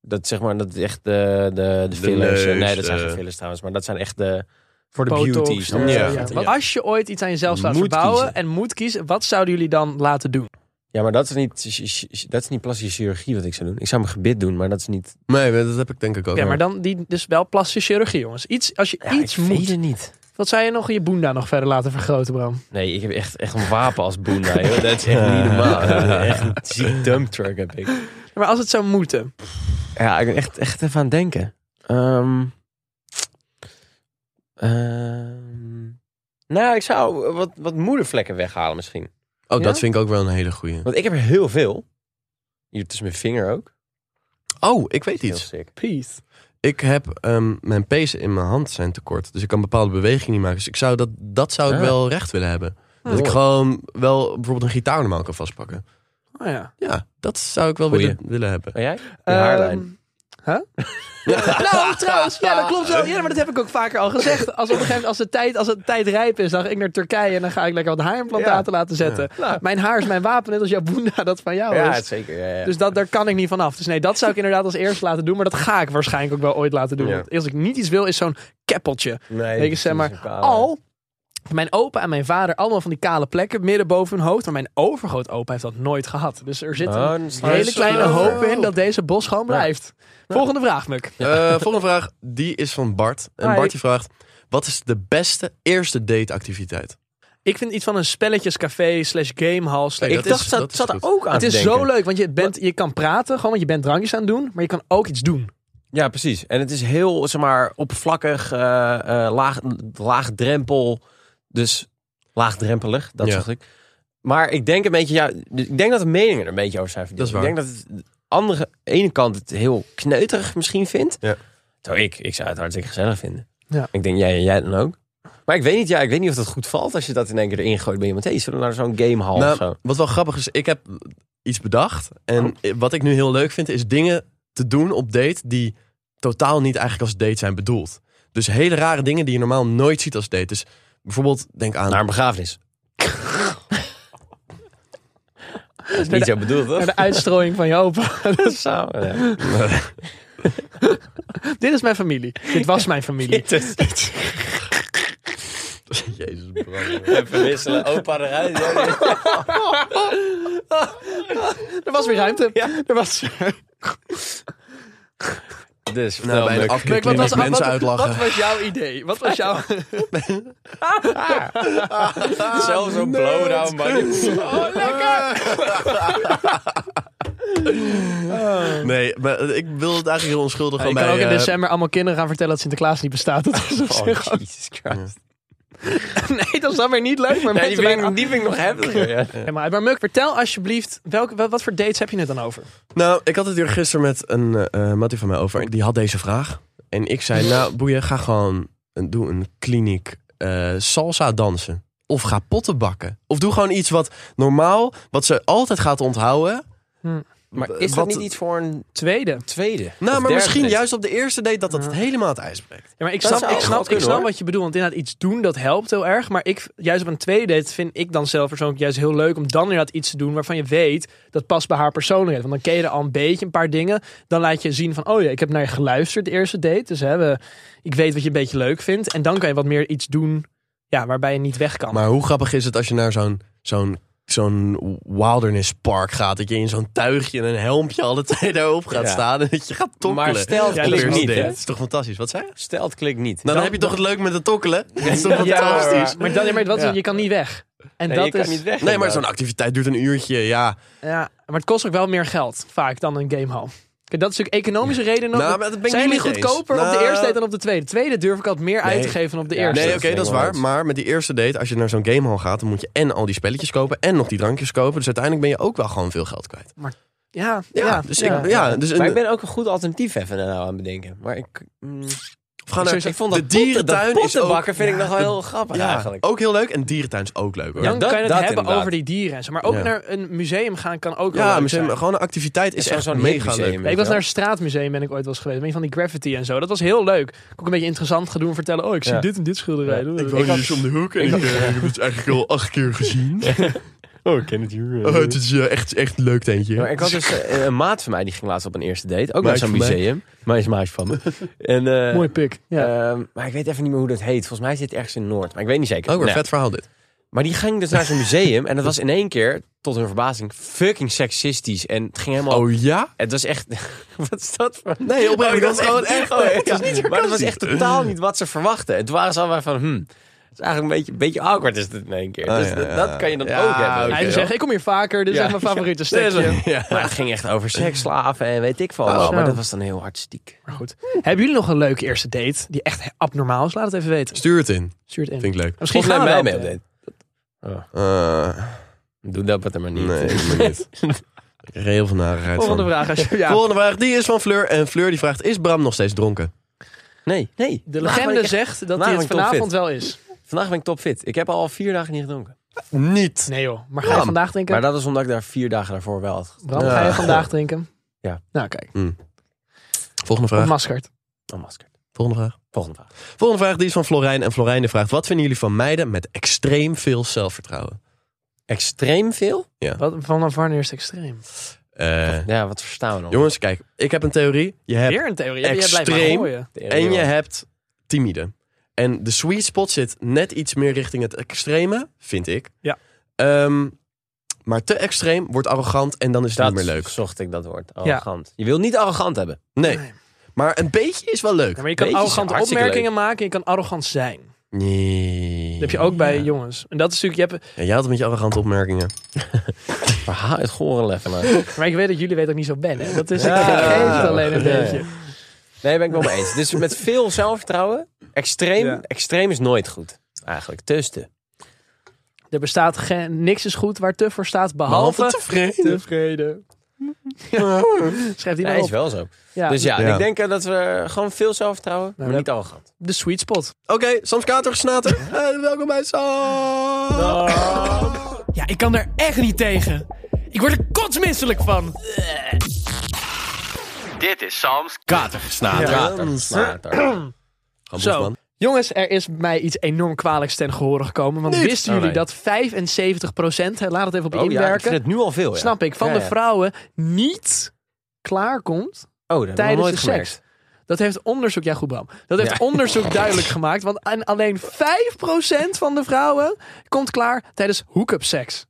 D: Dat zeg maar, dat is echt de, de, de
F: De
D: fillers.
F: neus,
D: eh,
F: eh.
D: nee, dat zijn
F: de-
D: geen fillers trouwens, maar dat zijn echt de... Voor de
G: Botox,
D: beauty.
G: eh,
D: snap je?
G: ja.
F: Ja.
G: Want als je ooit iets aan jezelf zou
D: Moet
G: verbouwen
D: kiezen.
G: en moet kiezen, wat zouden jullie dan laten doen?
D: Ja, maar dat is niet, ch- ch- ch- dat is niet plastische chirurgie wat ik zou doen. Ik zou mijn gebit doen, maar dat is niet...
F: Nee, dat heb ik denk ik ook.
G: Ja,
F: wel.
G: maar dan die, dus wel plastische chirurgie, jongens. Iets, als je iets
D: ik
G: moet.
D: weet het niet.
G: Wat zou je nog in je boenda nog verder laten vergroten, Bram?
D: Nee, ik heb echt, echt een wapen als boenda, joh. Dat is echt niet normaal. Echt een ziek dump truck heb ik.
G: Maar als het zou moeten.
D: Ja, ik ben echt, echt even aan het denken. Ehm, ehm, nou, ik zou wat, wat moedervlekken weghalen misschien.
F: Oh,
D: Ja?
F: dat vind ik ook wel een hele goeie.
D: Want ik heb er heel veel. Hier tussen mijn vinger ook.
F: Oh, ik weet
D: Heel
F: iets.
D: sick.
G: Peace.
F: Ik heb ehm, mijn pezen in mijn hand zijn te kort. Dus ik kan bepaalde bewegingen niet maken. Dus ik zou dat, dat zou ik
D: Ah.
F: wel recht willen hebben. Dat ik
D: Mooi.
F: gewoon wel bijvoorbeeld een gitaar normaal kan vastpakken.
G: Oh ja.
F: Ja, dat zou ik wel
D: Goeie.
F: willen, willen hebben.
D: En Oh, jij? Je haarlijn.
G: Ehm, Huh? nou, trouwens, ja, dat klopt wel. Ja, maar dat heb ik ook vaker al gezegd. Als op een gegeven moment, als de tijd, als de tijd rijp is, dan ga ik naar Turkije en dan ga ik lekker wat haarimplantaten laten zetten. Mijn haar is mijn wapen, net als jouw boenda dat van jou
D: Nou. ja,
G: is.
D: het zeker. Ja, ja.
G: Dus dat, daar kan ik niet vanaf. Dus nee, dat zou ik inderdaad als eerste laten doen. Maar dat ga ik waarschijnlijk ook wel ooit laten doen.
D: Ja.
G: Want als ik niet iets wil, is zo'n keppeltje.
D: nee,
G: Weet je, zeg maar,
D: Oh,
G: al mijn opa en mijn vader allemaal van die kale plekken midden boven hun hoofd. Maar mijn overgrootopa heeft dat nooit gehad. Dus er zit een hele kleine hoop in dat deze bos gewoon blijft. Volgende vraag, Muk.
F: Eh, volgende vraag, die is van Bart. En
G: Hi.
F: Bart die vraagt, wat is de beste eerste dateactiviteit?
G: Ik vind iets van een spelletjescafé slash gamehall. Slash...
F: Nee,
D: Ik
F: dat
D: dacht,
F: is-
D: dat,
F: dat is
D: zat er
F: goed.
D: ook aan
G: het
D: te
G: is
D: denken.
G: zo leuk, want je, bent, je kan praten, gewoon, want je bent drankjes aan het doen. Maar je kan ook iets doen.
D: Ja, precies. En het is heel, zeg maar, oppervlakkig, eh, eh, laag, laagdrempel. Dus laagdrempelig, dat
F: Ja.
D: zeg ik. Maar ik denk een beetje, ja, ik denk dat de meningen er een beetje over zijn verdeeld.
F: Dat is waar.
D: Ik denk dat het andere, ene kant het heel kneuterig misschien vindt.
F: Ja.
D: Terwijl ik, ik zou het hartstikke gezellig vinden.
G: Ja.
D: Ik denk, jij, jij dan ook. Maar ik weet niet, ja, ik weet niet of dat goed valt als je dat in één keer erin gooit bij iemand. Hey, zullen we naar zo'n gamehall of zo?
F: nou, wat wel grappig is, ik heb iets bedacht. En
D: Oh.
F: wat ik nu heel leuk vind, is dingen te doen op date die totaal niet eigenlijk als date zijn bedoeld. Dus hele rare dingen die je normaal nooit ziet als date. Dus bijvoorbeeld, denk aan...
D: Naar een begrafenis. dat is niet zo bedoeld,
G: Naar
D: toch?
G: de uitstrooiing van je opa.
D: Zo, ja.
G: Dit is mijn familie. Dit was mijn familie.
F: Jezus, brand.
D: Even wisselen, opa eruit.
G: Er was weer ruimte. Er was...
D: Dus,
F: Nou, bij de
G: Muk,
F: afkikking
G: was,
F: mensen uitlachen.
G: wat was jouw idee? Wat was jouw...
D: zelfs een blowdown,
G: Oh, lekker!
F: Nee, maar eh, ik wil het eigenlijk heel onschuldig
G: Ik
F: gewoon
G: kan
F: bij...
G: ook in
F: eh,
G: december allemaal kinderen gaan vertellen dat Sinterklaas niet bestaat. Dat is op zich ook-
D: Oh, Jesus Christ.
G: nee, dat is dan weer niet leuk. Maar,
D: die,
G: mensen
D: vind
G: zijn
D: ik, die vind ik nog heftiger. Ja.
G: Nee, maar, maar Muk, vertel alsjeblieft, welke, wel- wat voor dates heb je het dan over?
F: Nou, ik had het hier gisteren met een eh eh, mattie van mij over. Die had deze vraag. En ik zei, nou boeien, ga gewoon een, doe een kliniek eh, salsa dansen. Of ga potten bakken. Of doe gewoon iets wat normaal, wat ze altijd gaat onthouden.
D: Maar is dat
F: Wat-
D: niet iets voor een
G: Tweede.
D: tweede? Of
F: Nou, maar
D: derde
F: misschien
D: date?
F: juist op de eerste date dat dat het helemaal het ijs breekt.
G: Ja, maar ik
D: Dat
G: snap,
D: zou
G: ik
D: ook
G: snap,
D: wel
G: ik
D: kunnen,
G: snap
D: hoor.
G: wat je bedoelt. Want inderdaad, iets doen, dat helpt heel erg. Maar ik, juist op een tweede date vind ik dan zelf persoonlijk juist heel leuk... om dan inderdaad iets te doen waarvan je weet... dat past bij haar persoonlijkheid. Want dan ken je er al een beetje een paar dingen. Dan laat je zien van, oh ja, ik heb naar je geluisterd de eerste date. Dus hè, we- ik weet wat je een beetje leuk vindt. En dan kan je wat meer iets doen ja, waarbij je niet weg kan.
F: Maar hoe grappig is het als je naar zo'n zo'n zo'n wilderness park gaat. Dat je in zo'n tuigje en een helmpje alle twee daarop gaat
D: Ja.
F: staan. En dat je gaat tokkelen.
D: Maar stelt
F: op
G: Ja,
F: de
G: dat is
D: klinkt
F: eerste
D: niet,
F: date.
D: hè?
F: Dat is toch fantastisch? Wat zei je?
D: Stelt klinkt niet.
F: Nou, dan, heb je toch het leuk met het tokkelen. Dat is toch
D: Ja,
F: fantastisch?
D: precies.
G: Maar dan, ja, maar wat, is het? je kan niet weg. En
D: Nee,
G: dat
D: je kan
G: is,
D: niet weg.
F: Nee, maar
D: inderdaad.
F: zo'n activiteit duurt een uurtje, ja.
G: Ja, maar het kost ook wel meer geld vaak dan een gamehall. Kijk, dat is natuurlijk economische reden. nog.
F: Nou, maar dat ben ik
G: Zijn
F: niet
G: die
F: met je eens.
G: goedkoper op de
F: Nou.
G: eerste date dan op de tweede? Tweede durf ik altijd meer uit te
F: Nee.
G: geven dan op de
D: Ja,
G: eerste.
F: Nee,
D: dat
F: oké,
D: is
F: dat is
D: wel
F: waar.
D: iets.
F: Maar met die eerste date, als je naar zo'n gamehall gaat... dan moet je en al die spelletjes kopen en nog die drankjes kopen. Dus uiteindelijk ben je ook wel gewoon veel geld kwijt.
G: Ja, ja,
F: Ja, dus, ik, ja, dus
D: Maar
F: een-
D: ik ben ook een goed alternatief even nou aan het bedenken. Maar ik... mm,
F: Of gaan naar
D: Ik vond
F: de
D: dat potten-
F: dierentuin
D: dat
F: is ook-
D: pottenbakken vind ik nog wel
F: de-
D: heel grappig
F: ja,
D: eigenlijk.
F: ook heel leuk. En dierentuin is ook leuk hoor.
D: Ja,
G: Dan
D: dat-
G: kan je het
D: dat
G: hebben
D: inderdaad.
G: over die dieren en zo. Maar ook
F: Ja.
G: naar een museum gaan kan ook wel
F: Ja,
G: leuk
F: museum,
G: zijn.
F: gewoon een activiteit is
D: Zo'n-
F: echt
D: zo'n
F: mega
D: hipmuseum,
F: leuk.
D: weet
G: Ja, ik was
D: je wel.
G: naar een straatmuseum ben ik ooit wel eens geweest. Een van die graffiti en zo. Dat was heel leuk. Kon ik ook een beetje interessant gaan doen vertellen. Oh, ik zie
D: Ja.
G: dit en dit schilderij.
F: Ik
G: Ja,
F: woon hier dus om de hoek en ik, eh, ik heb het eigenlijk al acht keer gezien.
D: Oh, ik ken het hier.
F: Oh, het is eh, echt, echt een leuk tentje.
D: Ja, maar ik had dus eh, een maat van mij die ging laatst op een eerste date.
F: Maatje
D: Ook naar zo'n
F: van mij.
D: museum. Maar is maatje van me. En, eh,
G: Mooi pik. Ja.
D: ehm, maar ik weet even niet meer hoe dat heet. Volgens mij zit het ergens in Noord. Maar ik weet niet zeker.
F: Oh, weer
D: Nou,
F: vet verhaal dit.
D: Maar die ging dus naar zo'n museum. En dat was in één keer, tot hun verbazing, fucking seksistisch. En het ging helemaal...
F: Oh ja?
D: Het was echt... wat is dat voor...
F: Nee, oprecht. dat is gewoon echt.
D: Oh, het was niet
F: sarcastisch.
D: Maar dat was echt totaal niet wat ze verwachten. En toen waren ze allemaal van... Hmm, het is eigenlijk een beetje, beetje awkward is dit in één keer.
F: Oh,
D: dus
F: ja,
D: dat,
F: ja.
D: dat kan je dan
F: Ja,
D: ook hebben.
F: oké,
G: Hij
F: ja.
G: zegt, ik kom hier vaker. Dit is
D: Ja.
G: echt mijn favoriete
D: Nee,
G: stukje.
D: zo- Maar het ging echt over seksslaven en weet ik veel.
G: Oh,
D: allemaal.
G: zo.
D: maar dat was dan heel artistiek.
G: Maar goed. Hebben jullie nog een leuke eerste date die echt abnormaal is? Laat het even weten.
F: Stuur het in.
G: Stuur het in.
F: Vind ik leuk.
G: Misschien
D: Volgens mij
G: gaan
D: mij
G: we
D: mee
G: wel.
D: op dit.
F: Eh,
D: Doe dat op de manier.
F: nee, ik ben niet. Ik krijg heel veel narigheid
G: Volgende
F: van.
G: vraag. Als je, ja,
F: Volgende vraag, die is van Fleur. En Fleur die vraagt, is Bram nog steeds dronken?
D: Nee, nee.
G: de
D: Vandaag ben
G: legende
D: ik echt-
G: zegt dat
D: vandaag
G: hij
D: ben
G: het
D: ik topfit.
G: vanavond wel is.
D: Vandaag ben ik topfit. Ik heb al vier dagen niet gedronken.
F: Niet.
G: Nee joh. Maar ga je
F: Ja,
G: vandaag drinken?
D: Maar dat is omdat ik daar vier dagen daarvoor wel had. gedronken.
G: Bram, ga je vandaag drinken?
D: Ja.
G: Nou, kijk.
F: Volgende
G: Of
F: vraag.
G: maskert.
D: Oh, masker.
F: Volgende vraag.
D: Volgende vraag.
F: Volgende vraag, die is van Florijn. En Florijn die vraagt, wat vinden jullie van meiden met extreem veel zelfvertrouwen?
D: Extreem veel?
G: Wat, vanaf wanneer is het extreem?
F: Eh,
D: Ja, wat verstaan we dan?
F: jongens, kijk. Ik heb een theorie. Je hebt
G: Oh. Weer een theorie. Jij- Jij blijft maar
F: Extreem.
G: gooien.
F: En je hebt timide. En de sweet spot zit net iets meer richting het extreme, vind ik.
G: Ja.
F: Ehm, maar te extreem wordt arrogant en dan is het
D: dat
F: niet meer leuk.
D: zocht ik dat woord. Arrogant. Je wilt niet arrogant hebben.
F: Nee. Maar een beetje is wel leuk.
G: Ja, maar je kan
D: Beetje is
G: arrogante
D: hartstikke
G: opmerkingen maken. en Je kan arrogant zijn.
F: Nee.
G: Dat heb je ook bij jongens. En dat is natuurlijk... Je hebt,
F: Ja, jij had het met je arrogante opmerkingen.
D: Verhaal het gore leffen. maar.
G: maar ik weet dat jullie weten dat ik niet zo ben. Hè? Dat is...
D: Ja.
G: Ik vergeet het alleen een
D: Ja.
G: beetje.
D: Nee, ben ik wel mee eens. Dus met veel zelfvertrouwen. Extreem.
G: Ja.
D: Extreem is nooit goed. Eigenlijk. Tussen.
G: Er bestaat geen, niks is goed waar te voor staat, behalve,
F: Behalve tevreden.
G: tevreden. Ja. Schrijf die
D: Ja,
G: nou
D: is
G: op.
D: wel zo.
G: Ja, Nou,
D: Dus ja,
F: Ja.
D: ik denk eh, dat we gewoon veel zelfvertrouwen, maar
G: dat-
D: niet arrogant.
G: de sweet spot.
F: Oké, Sams Kater, gesnater. Eh, welkom bij Sam.
C: Ja, ik kan er echt niet tegen. Ik word er kotsmisselijk van.
E: Dit is Sam's
F: Kater, gesnater.
D: Later, later.
F: Gaan
G: Zo.
F: Bosman.
G: Jongens, er is mij iets enorm kwalijks ten gehore gekomen. Want
F: Niet.
G: wisten jullie
D: Oh, nee.
G: dat 75 hè, laat het even op je
D: Oh ja, ik
G: inwerken,
D: vind het nu al veel. ja.
G: snap ik, van
D: Ja,
G: de
D: ja.
G: vrouwen niet klaarkomt
D: Oh, dat hebben we
G: tijdens
D: nooit
G: de
D: gemerkt.
G: seks. Dat heeft onderzoek, ja goed Bram, dat heeft onderzoek duidelijk gemaakt. Want aan- alleen 5% van de vrouwen komt klaar tijdens hook-up seks.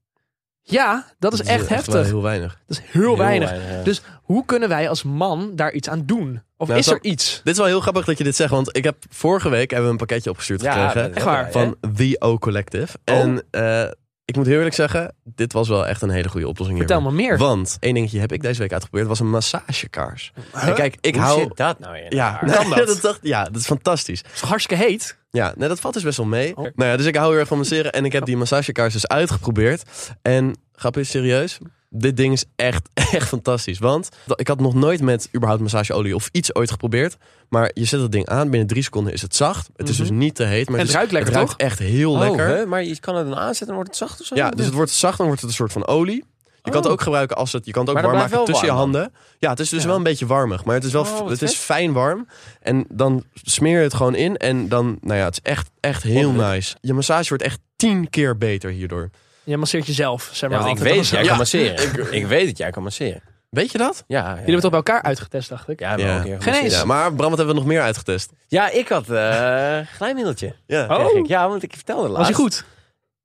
G: Ja, dat is
F: Dat
G: echt
F: wel
G: heftig.
F: heel weinig.
G: Dat is heel, weinig.
D: weinig, ja.
G: Dus hoe kunnen wij als man daar iets aan doen? Of
F: Nou,
G: is
F: zo-
G: er iets?
F: Dit is wel heel grappig dat je dit zegt, want ik heb vorige week hebben we een pakketje opgestuurd gekregen.
D: dat-
G: Echt waar,
D: ja,
F: van The O Collective. En eh, ik moet heel eerlijk zeggen, dit was wel echt een hele goede oplossing hier.
G: Vertel me meer.
F: Want één dingetje heb ik deze week uitgeprobeerd, was een massagekaars. En kijk, ik
D: Hoe
F: hou...
D: zit dat nou in?
F: Ja, kan dat? dacht- ja, dat is fantastisch.
G: Het is hartstikke heet.
F: Ja, nee, dat valt dus best wel mee.
G: Oh.
F: Nou ja, dus ik hou heel erg van masseren en ik heb die massagekaars dus uitgeprobeerd. En grap is serieus, dit ding is echt, echt fantastisch. Want ik had nog nooit met überhaupt massageolie of iets ooit geprobeerd. Maar je zet dat ding aan, binnen drie seconden is het zacht. Het is dus niet te heet, maar
G: Mhm. En het
F: is-
G: ruikt lekker,
F: het ruikt
G: toch?
F: echt heel
D: Oh,
F: lekker.
D: hè? Maar je kan het dan aanzetten en wordt het zacht of zo?
F: Ja, dus het wordt zacht, dan wordt het een soort van olie. Je kan het ook gebruiken als het, je kan het ook
D: Maar dat
F: warm maken
D: blijft wel
F: tussen
D: warm
F: je handen. Ja, het is dus wel een beetje warmig, maar het is wel,
D: Oh, wat
F: het is
D: vet.
F: fijn warm. En dan smeer je het gewoon in en dan, nou ja, het is echt, echt heel nice. Je massage wordt echt tien keer beter hierdoor.
G: Je masseert jezelf, zeg
D: Ja,
G: maar.
D: want ik
G: altijd.
D: weet
G: Dat
D: dat
G: is-
D: jij
F: Ja.
D: kan masseren. ik, weet dat jij kan masseren.
F: Weet je dat?
D: Ja, ja.
G: Jullie hebben het al bij elkaar uitgetest, dacht ik.
D: ja, we hebben
F: Ja.
D: al een keer
G: Geen
D: gemasseerd.
G: eens.
F: Ja, maar Bram, wat hebben we nog meer uitgetest?
D: Ja, ik had eh glijmiddeltje.
F: Ja.
G: Oh.
D: kreeg ik. Ja, want ik vertelde laatst.
G: Was hij goed? Oh.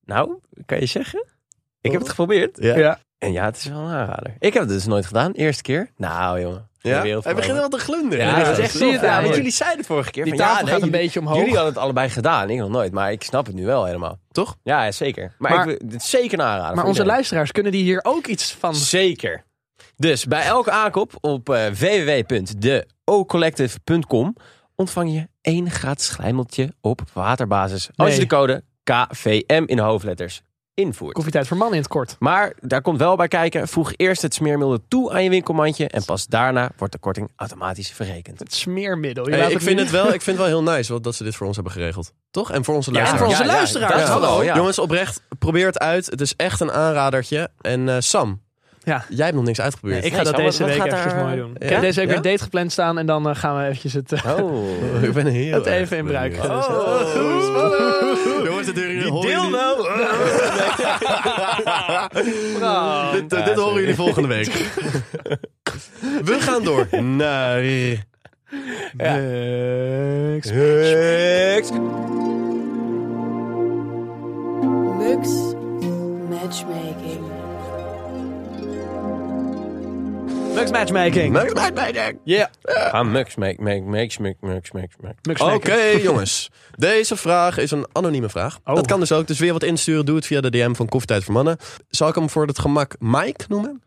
D: Nou, kan je zeggen? Ik heb het geprobeerd.
F: Ja.
G: Ja.
D: En ja, het is wel een aanrader. Ik heb het dus nooit gedaan. Eerste keer. Nou, jongen.
F: Ja?
D: De wereld
F: Hij begint
D: veranderd.
F: wel te glunderen.
D: Ja, dat is echt
G: zie je
D: zo
G: het
D: gaaf.
G: aan,
D: Want
G: hoor.
D: jullie zeiden het vorige keer.
G: Die
D: van, ja,
G: tafel
D: nee,
G: gaat een
D: jullie-
G: beetje omhoog.
D: Jullie hadden het allebei gedaan. Ik nog nooit. Maar ik snap het nu wel helemaal.
F: Toch?
D: Ja, ja, zeker. Maar,
G: Maar-
D: ik, wil- dit is zeker een aanrader.
G: Maar
D: voor
G: onze
D: iedereen.
G: luisteraars, kunnen die hier ook iets van...
D: Zeker. Dus bij elke aankoop op eh www.deocollective.com ontvang je één gratis glijmeltje op waterbasis. Als
G: Nee.
D: je de code KVM in hoofdletters invoert.
G: Koffietijd voor mannen in het kort.
D: Maar daar komt wel bij kijken, voeg eerst het smeermiddel toe aan je winkelmandje en pas daarna wordt de korting automatisch verrekend.
F: Oh.
G: Het smeermiddel. Je
F: Hey,
G: laat
F: ik,
G: het
F: vind
G: nu-
F: het wel, ik vind het wel heel nice wat, dat ze dit voor ons hebben geregeld. Toch? En voor onze
D: Ja,
G: En
F: luisteraars.
G: voor onze
D: ja, ja,
G: luisteraars.
D: dat
F: Ja.
G: Hallo.
D: wel, ja.
F: Jongens, oprecht, probeer het uit. Het is echt een aanradertje. En eh, Sam,
G: Ja.
F: jij hebt nog niks uitgeprobeerd.
G: Ik ga
D: Nee,
G: dat
D: Sam,
G: deze
D: wat-
G: week
D: wat gaat
G: eventjes
D: daar-
G: mooi doen. Ik
F: Ja?
G: heb deze week
F: Ja?
G: weer een date gepland staan en dan eh, gaan we eventjes het, eh,
D: Oh.
F: Ik ben heel
G: het
F: erg
G: even in
F: benieuwd.
G: bruik.
F: Oh, spannend. Dan wordt het weer een horen jullie- nou. Dit, eh,
D: Ja,
F: dit
D: sorry.
F: horen jullie volgende week. We gaan door naar...
H: Mux Matchmaking.
G: Mux matchmaking.
F: Maak- maak- maak- maak.
G: Ja.
D: Ah, mux, make, make, make, make, mux, mux, mux.
G: Mux
F: Oké,
G: matchmaking.
F: jongens. Deze vraag is een anonieme vraag.
G: Oh.
F: Dat kan dus ook. Dus weer wat insturen. Doe het via de DM van Koffietijd voor Mannen. Zal ik hem voor het gemak Mike noemen?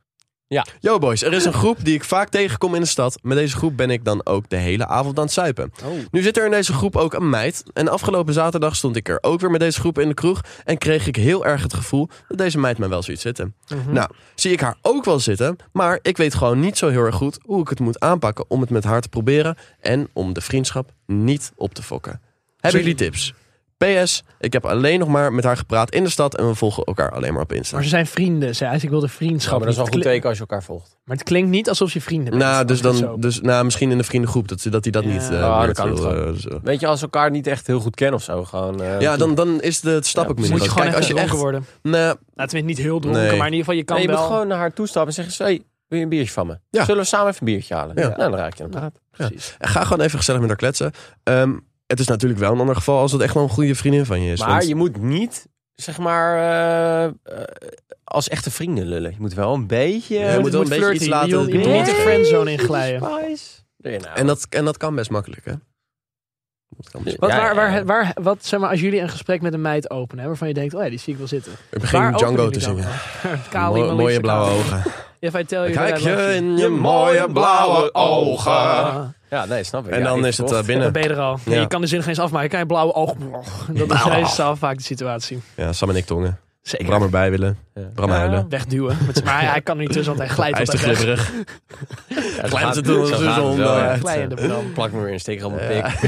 D: Ja.
F: Yo boys, er is een groep die ik vaak tegenkom in de stad. Met deze groep ben ik dan ook de hele avond aan het suipen. Nu zit er in deze groep ook een meid. En afgelopen zaterdag stond ik er ook weer met deze groep in de kroeg. En kreeg ik heel erg het gevoel dat deze meid mij wel ziet zitten.
G: Mhm.
F: Nou, zie ik haar ook wel zitten. Maar ik weet gewoon niet zo heel erg goed hoe ik het moet aanpakken om het met haar te proberen. En om de vriendschap niet op te fokken. Hebben jullie tips? PS, ik heb alleen nog maar met haar gepraat in de stad. En we volgen elkaar alleen maar op Insta.
G: Maar ze zijn vrienden. Ze, hij zegt, ik wilde
D: Ja,
G: vriendschap.
D: maar dat is wel een
G: niet.
D: goed
G: Het kli-
D: teken als je elkaar volgt.
G: Maar het klinkt niet alsof je vrienden bent.
F: Nou, dus
G: Dat is
F: dan,
G: zo.
F: dus, nou, misschien in de vriendengroep dat hij dat, hij dat
G: Ja.
F: niet. eh,
D: Ah, dat
F: weer
D: kan
F: wil,
D: het gewoon.
F: eh, zo.
D: Weet je, als ze elkaar niet echt heel goed kennen of zo, gewoon... eh,
F: Ja, dan, dan is de, het stap ook
G: Dus
F: minder.
G: moet je
F: groot.
G: gewoon
F: Kijk,
G: echt
F: als je
G: dronken
F: echt.
G: worden.
F: Nee,
G: Nou, tenminste niet heel dronken,
F: Nee.
G: maar in ieder geval je kan
D: Nee, je
G: wel...
D: moet gewoon naar haar toestappen en zeggen... Hey, wil je een biertje van me?
F: Ja.
D: Zullen we samen even een biertje halen?
F: Ja.
D: Nou, dan raak je aan de praat.
G: Precies.
F: ga gewoon even gezellig met haar kletsen. Ehm, het is natuurlijk wel een ander geval als het echt wel een goede vriendin van je is.
D: Maar
F: want-
D: je moet niet, zeg maar, eh, eh, als echte vrienden lullen. Je moet wel een beetje...
F: Ja, je moet wel een beetje
G: flirty.
F: iets laten
G: eh, Je moet- Je moet niet de
D: doen.
G: friendzone inglijden.
F: en, dat, en dat kan best makkelijk, hè? Dat kan best
G: Wat,
D: nou. Ja, ja,
G: waar,
D: ja.
G: waar, waar, wat, zeg maar, als jullie een gesprek met een meid openen, hè, waarvan je denkt, oh ja, die zie ik wel zitten.
F: Ik begin
G: Waar openen
F: Django te
G: jullie dan?
F: zingen.
G: Kaal,
F: Mooi-
G: iemand liefst
F: mooie
G: de
F: blauwe
G: kaal.
F: ogen.
G: If I tell you
F: Kijk
G: that I love
F: je
G: you.
F: in je mooie blauwe ogen.
G: Ah,
D: Ja, nee, snap ik.
F: En
D: Ja,
F: dan
D: ik
F: is het
D: verkocht.
F: eh,
G: Dan
F: binnen.
G: ben je er al.
F: Ja.
G: Je kan de zin geen eens afmaken. Kijk, blauwe ogen. Dat is meestal vaak de situatie.
F: Ja, Sam en ik tongen.
G: Zeker.
F: Bram erbij willen. Bram huilen.
G: Wegduwen. Met z'n- Maar hij kan er niet tussen, want hij glijdt
F: Hij is te
G: altijd weg.
F: glibberig.
D: Ja,
F: Glijdt
D: gaat-
F: het door
D: zo
F: onze
D: gaat het
F: zon,
D: wel,
F: eh,
D: ja.
F: uit.
G: Glijende Bram.
D: Plak me weer een steker op mijn pik.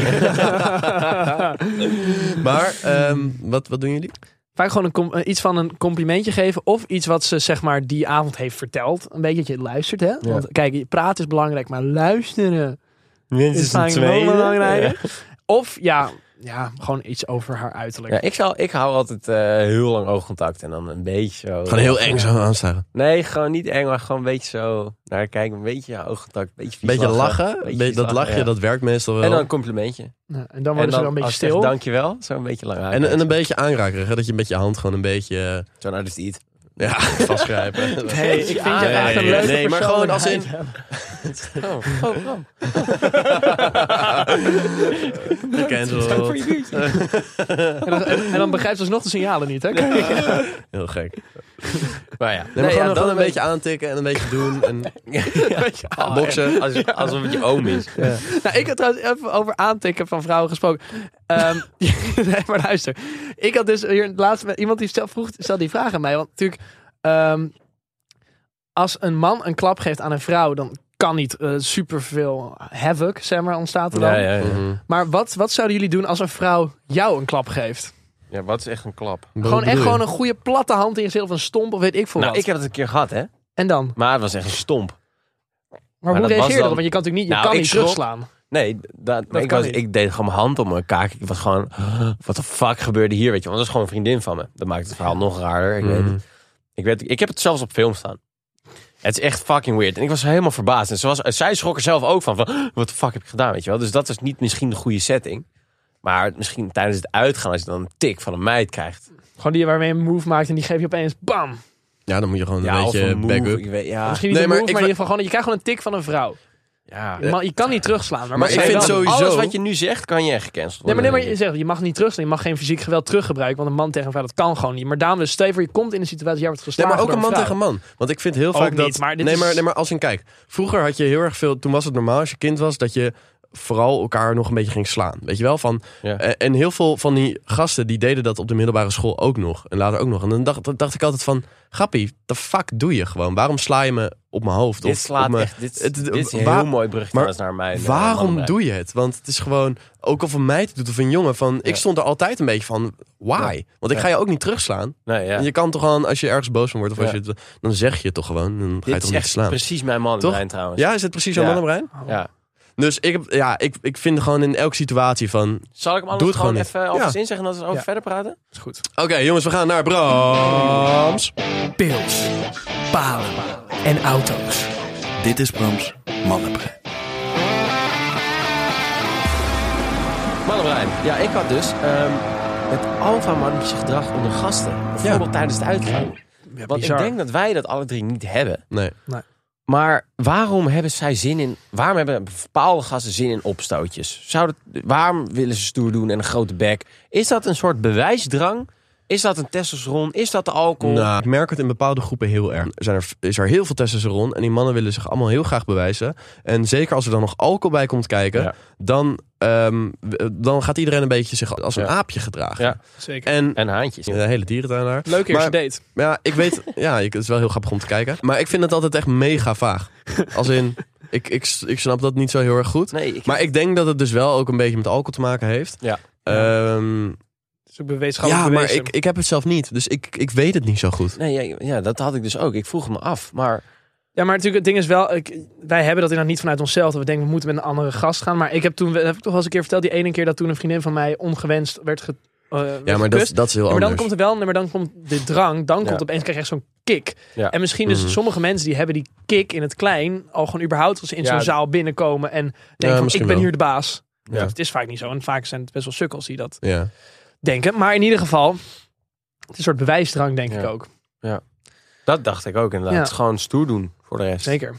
F: Maar ehm, wat, wat doen jullie?
G: Vaak gewoon een com- eh, iets van een complimentje geven. Of iets wat ze zeg maar die avond heeft verteld. Een beetje dat je luistert. Hè? Want kijk, praten is belangrijk, maar luisteren is vaak wel belangrijk. Of ja, ja, gewoon iets over haar uiterlijk.
D: Ja, ik, zal, ik hou altijd eh, heel lang oogcontact en dan een beetje zo.
F: Gewoon heel eng zo aanstaren.
D: Nee, gewoon niet eng, maar gewoon een beetje zo naar haar kijken. Een beetje ja, oogcontact, een beetje
F: Een
D: vies
F: beetje lachen.
D: beetje
F: Be-
D: vies
F: dat
D: lachen,
F: lachje,
D: ja.
F: dat werkt meestal wel.
D: En dan een complimentje.
G: Nou, en dan
D: en
G: worden
D: dan
G: ze dan een beetje
D: als ze zegt
G: stil.
D: dankjewel, zo een beetje lang
F: En,
D: aankijken.
F: en een beetje aanraken, hè? dat je met je hand gewoon een beetje
D: Zo naar de stiet.
F: eh, ja, vastgrijpen.
G: Hey, ik vind
D: Ah,
G: je echt een
F: nee,
G: leuke
F: nee, maar
G: persoon.
F: gewoon als in-
D: Oh, oh, Bram.
F: Gecanceld.
G: En dan, en, en dan begrijpt ze alsnog de signalen niet. Hè?
F: Heel gek. Nee,
D: Maar ja.
F: maar
D: Nee,
F: gewoon
D: ja,
F: dan een beetje aantikken en een beetje doen. En
D: Oh,
F: boksen.
D: echt. Als, alsof het je oom is.
G: Nou, ik had trouwens even over aantikken van vrouwen gesproken. Ehm, nee, maar luister. Ik had dus hier laatst met iemand die stel, vroeg, stelde die vraag aan mij. Want natuurlijk, ehm, als een man een klap geeft aan een vrouw, dan kan niet eh, superveel havoc, zeg maar, ontstaat er dan.
D: Ja, ja,
F: Mhm.
D: ja.
G: Maar wat, wat zouden jullie doen als een vrouw jou een klap geeft?
D: ja, wat is echt een klap?
G: gewoon echt gewoon een goede platte hand in je gezicht of een stomp of weet ik veel
D: Nou,
G: wat.
D: ik heb dat een keer gehad, hè.
G: En dan?
D: Maar het was echt een stomp.
G: Maar,
D: Maar
G: hoe
D: dat was
G: reageer je
D: dan-
G: erop? Want je kan natuurlijk niet, je
D: Nou,
G: kan
D: ik
G: niet
D: schrok.
G: terugslaan.
D: Nee, dat, maar ik,
G: kan
D: was,
G: niet.
D: ik deed gewoon mijn hand op mijn kaak. Ik was gewoon, wat de fuck gebeurde hier, weet je. Want dat is gewoon een vriendin van me. Dat maakt het verhaal nog raarder, ik weet het. Ik, weet, ik heb het zelfs op film staan. Het is echt fucking weird. En ik was helemaal verbaasd. En ze was, zij schrok er zelf ook van, van wat de fuck heb ik gedaan, weet je wel. Dus dat is niet misschien de goede setting. Maar misschien tijdens het uitgaan, als je dan een tik van een meid krijgt.
G: Gewoon die waarmee je een move maakt en die geef je opeens bam.
F: Ja, dan moet je gewoon een
D: Ja, of
F: beetje
D: een move,
F: back-up.
D: ik weet, ja,
G: Misschien niet
F: Nee,
G: een
F: maar ik
G: move, maar in
F: wa-
G: ieder geval gewoon, je krijgt gewoon een tik van een vrouw.
D: ja.
G: Je, mag- je kan niet terugslaan. Maar,
F: Maar
G: wat
F: ik
G: zeg je
F: vind
G: dan?
F: sowieso...
D: Alles wat je nu zegt, kan je echt gecanceld
G: Nee, maar,
D: worden.
G: nee, maar je, zegt, je mag niet terugslaan. Je mag geen fysiek geweld teruggebruiken. Want een man tegen een vrouw, dat kan gewoon niet. Maar daarom, dus, stel je voor, je komt in een situatie, jij wordt
F: Nee,
G: geslagen
F: maar ook een man
G: door
F: tegen man. Want ik vind heel
G: Ook
F: vaak
G: niet,
F: dat...
G: maar dit
F: nee,
G: is-
F: maar, nee, maar als in kijk. Vroeger had je heel erg veel... Toen was het normaal als je kind was dat je vooral elkaar nog een beetje ging slaan. Weet je wel? Van,
D: Ja.
F: eh, en heel veel van die gasten die deden dat op de middelbare school ook nog. En later ook nog. En dan dacht, dan dacht ik altijd van, grappie, the fuck doe je gewoon? Waarom sla je me op mijn hoofd?
D: Dit
F: Of
D: slaat
F: op mijn,
D: echt. Dit,
F: het-
D: dit is een
F: waar-
D: heel mooi brug trouwens naar mijn. eh,
F: Waarom
D: mannenbrein.
F: doe je het? Want het is gewoon, ook of een meid het doet of een jongen, van,
D: Ja.
F: ik stond er altijd een beetje van, why? Want ik
D: Ja.
F: ga je ook niet terugslaan.
D: Nee, ja.
F: En je kan toch gewoon, als je ergens boos van wordt, of
D: Ja.
F: als je, het- dan zeg je het toch gewoon. Dan ga je
D: Dit
F: toch
D: is
F: niet
D: echt
F: slaan.
D: precies mijn mannenbrein trouwens.
F: Ja, is het precies zo'n
D: Ja.
F: mannenbrein?
D: Ja.
F: Dus ik, heb, ja, ik, ik vind gewoon in elke situatie van...
D: Zal ik hem anders
F: Doe het
D: gewoon,
F: gewoon
D: even alvast inzeggen en dan over verder praten?
F: Oké, jongens, we gaan naar Brams.
C: Pils, palen en auto's.
E: Dit is Brams Mannenbrein.
D: Mannenbrein. Ja, ik had dus ehm het alfa-mannetje gedrag onder gasten. Bijvoorbeeld tijdens het uitgaan.
G: Ja,
D: Want
G: bizar.
D: ik denk dat wij dat alle drie niet hebben.
F: Nee.
D: Maar waarom hebben zij zin in... Waarom hebben bepaalde gasten zin in opstootjes? Zou dat, waarom willen ze stoer doen en een grote bek? Is dat een soort bewijsdrang? Is dat een testosteron? Is dat de alcohol?
F: Nou, ik merk het in bepaalde groepen heel erg. Er Zijn er, is er heel veel testosteron en die mannen willen zich allemaal heel graag bewijzen. En zeker als er dan nog alcohol bij komt kijken,
D: Ja.
F: dan, ehm, w- dan gaat iedereen een beetje zich als een
D: Ja.
F: aapje gedragen.
D: Ja.
G: Zeker.
F: En
D: En haantjes.
F: de hele dierentuinaar.
G: Leuk eerste
F: Maar-
G: date.
F: Maar ja, ik weet, ja, ik, het is wel heel grappig om te kijken. Maar ik vind het altijd echt mega vaag. Als in, ik, ik, ik snap dat niet zo heel erg goed.
D: Nee, ik,
F: Maar ik denk dat het dus wel ook een beetje met alcohol te maken heeft.
D: Ja.
F: Ehm,
G: Het is ook wetenschappelijk
F: ja, maar
G: bewezen.
F: ik, ik heb het zelf niet. Dus ik, ik weet het niet zo goed.
D: nee ja, ja, dat had ik dus ook. Ik vroeg me af. Maar
G: Ja, maar natuurlijk, het ding is wel, ik, wij hebben dat inderdaad niet vanuit onszelf. Dat we denken, we moeten met een andere gast gaan. Maar ik heb toen, dat heb ik toch wel eens een keer verteld, die ene keer dat toen een vriendin van mij ongewenst werd ge, eh, werd
F: Ja, maar dat,
G: gekust.
F: dat is heel
G: Ja, maar dan
F: anders.
G: komt er wel, nee, maar dan komt de drang, dan
D: Ja.
G: komt opeens krijg je echt zo'n kick.
D: Ja.
G: En misschien dus
F: Mhm.
G: sommige mensen die hebben die kick in het klein al gewoon überhaupt als ze in
D: Ja,
G: zo'n
D: d-
G: zaal binnenkomen en denken van, ik
F: misschien
G: ben
F: wel.
G: hier de baas.
F: Ja.
G: Het is vaak niet zo en vaak zijn het best wel sukkels die dat
F: Ja.
G: denken. Maar in ieder geval, het is een soort bewijsdrang denk
D: Ja.
G: ik ook.
D: dat dacht ik ook inderdaad.
G: Ja.
D: Het is gewoon stoer doen voor de rest.
G: Zeker.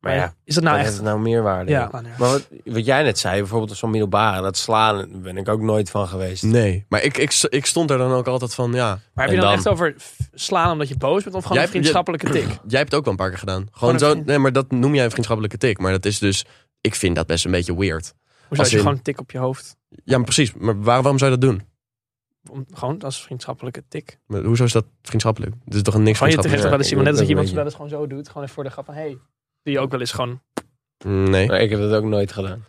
D: Maar ja,
G: is dat
D: nou
G: nou
D: heeft
G: echt?
D: het nou meerwaarde?
G: Ja,
D: joh?
G: nou, ja.
D: Maar wat, wat jij net zei, bijvoorbeeld zo'n middelbare, dat slaan, daar ben ik ook nooit van geweest.
F: Nee, maar ik, ik, ik stond er dan ook altijd van, ja.
G: Maar heb je
F: En
G: dan,
F: dan?
G: echt over f- slaan omdat je boos bent of gewoon
F: Jij-
G: een vriendschappelijke tik?
F: Jij hebt het ook wel een paar keer gedaan. Gewoon
G: een
F: zo,
G: vriend.
F: nee, maar dat noem jij een vriendschappelijke tik. Maar dat is dus, ik vind dat best een beetje weird.
G: Of als je
F: in-
G: gewoon een tik op je hoofd?
F: Ja, maar precies. Maar waar- waarom zou je dat doen?
G: Om- Gewoon als vriendschappelijke tik.
F: Maar hoezo is dat vriendschappelijk? Het is toch niks
G: Gewoon je
F: vriendschappelijk?
G: terecht wel eens iemand, net als dat
D: Ik
G: je
D: weet
G: iemand wel
D: het
G: eens gewoon zo doet. Gewoon even voor de grap van, hey. Die je ook wel eens gewoon...
F: Nee.
D: Maar ik heb dat ook nooit gedaan.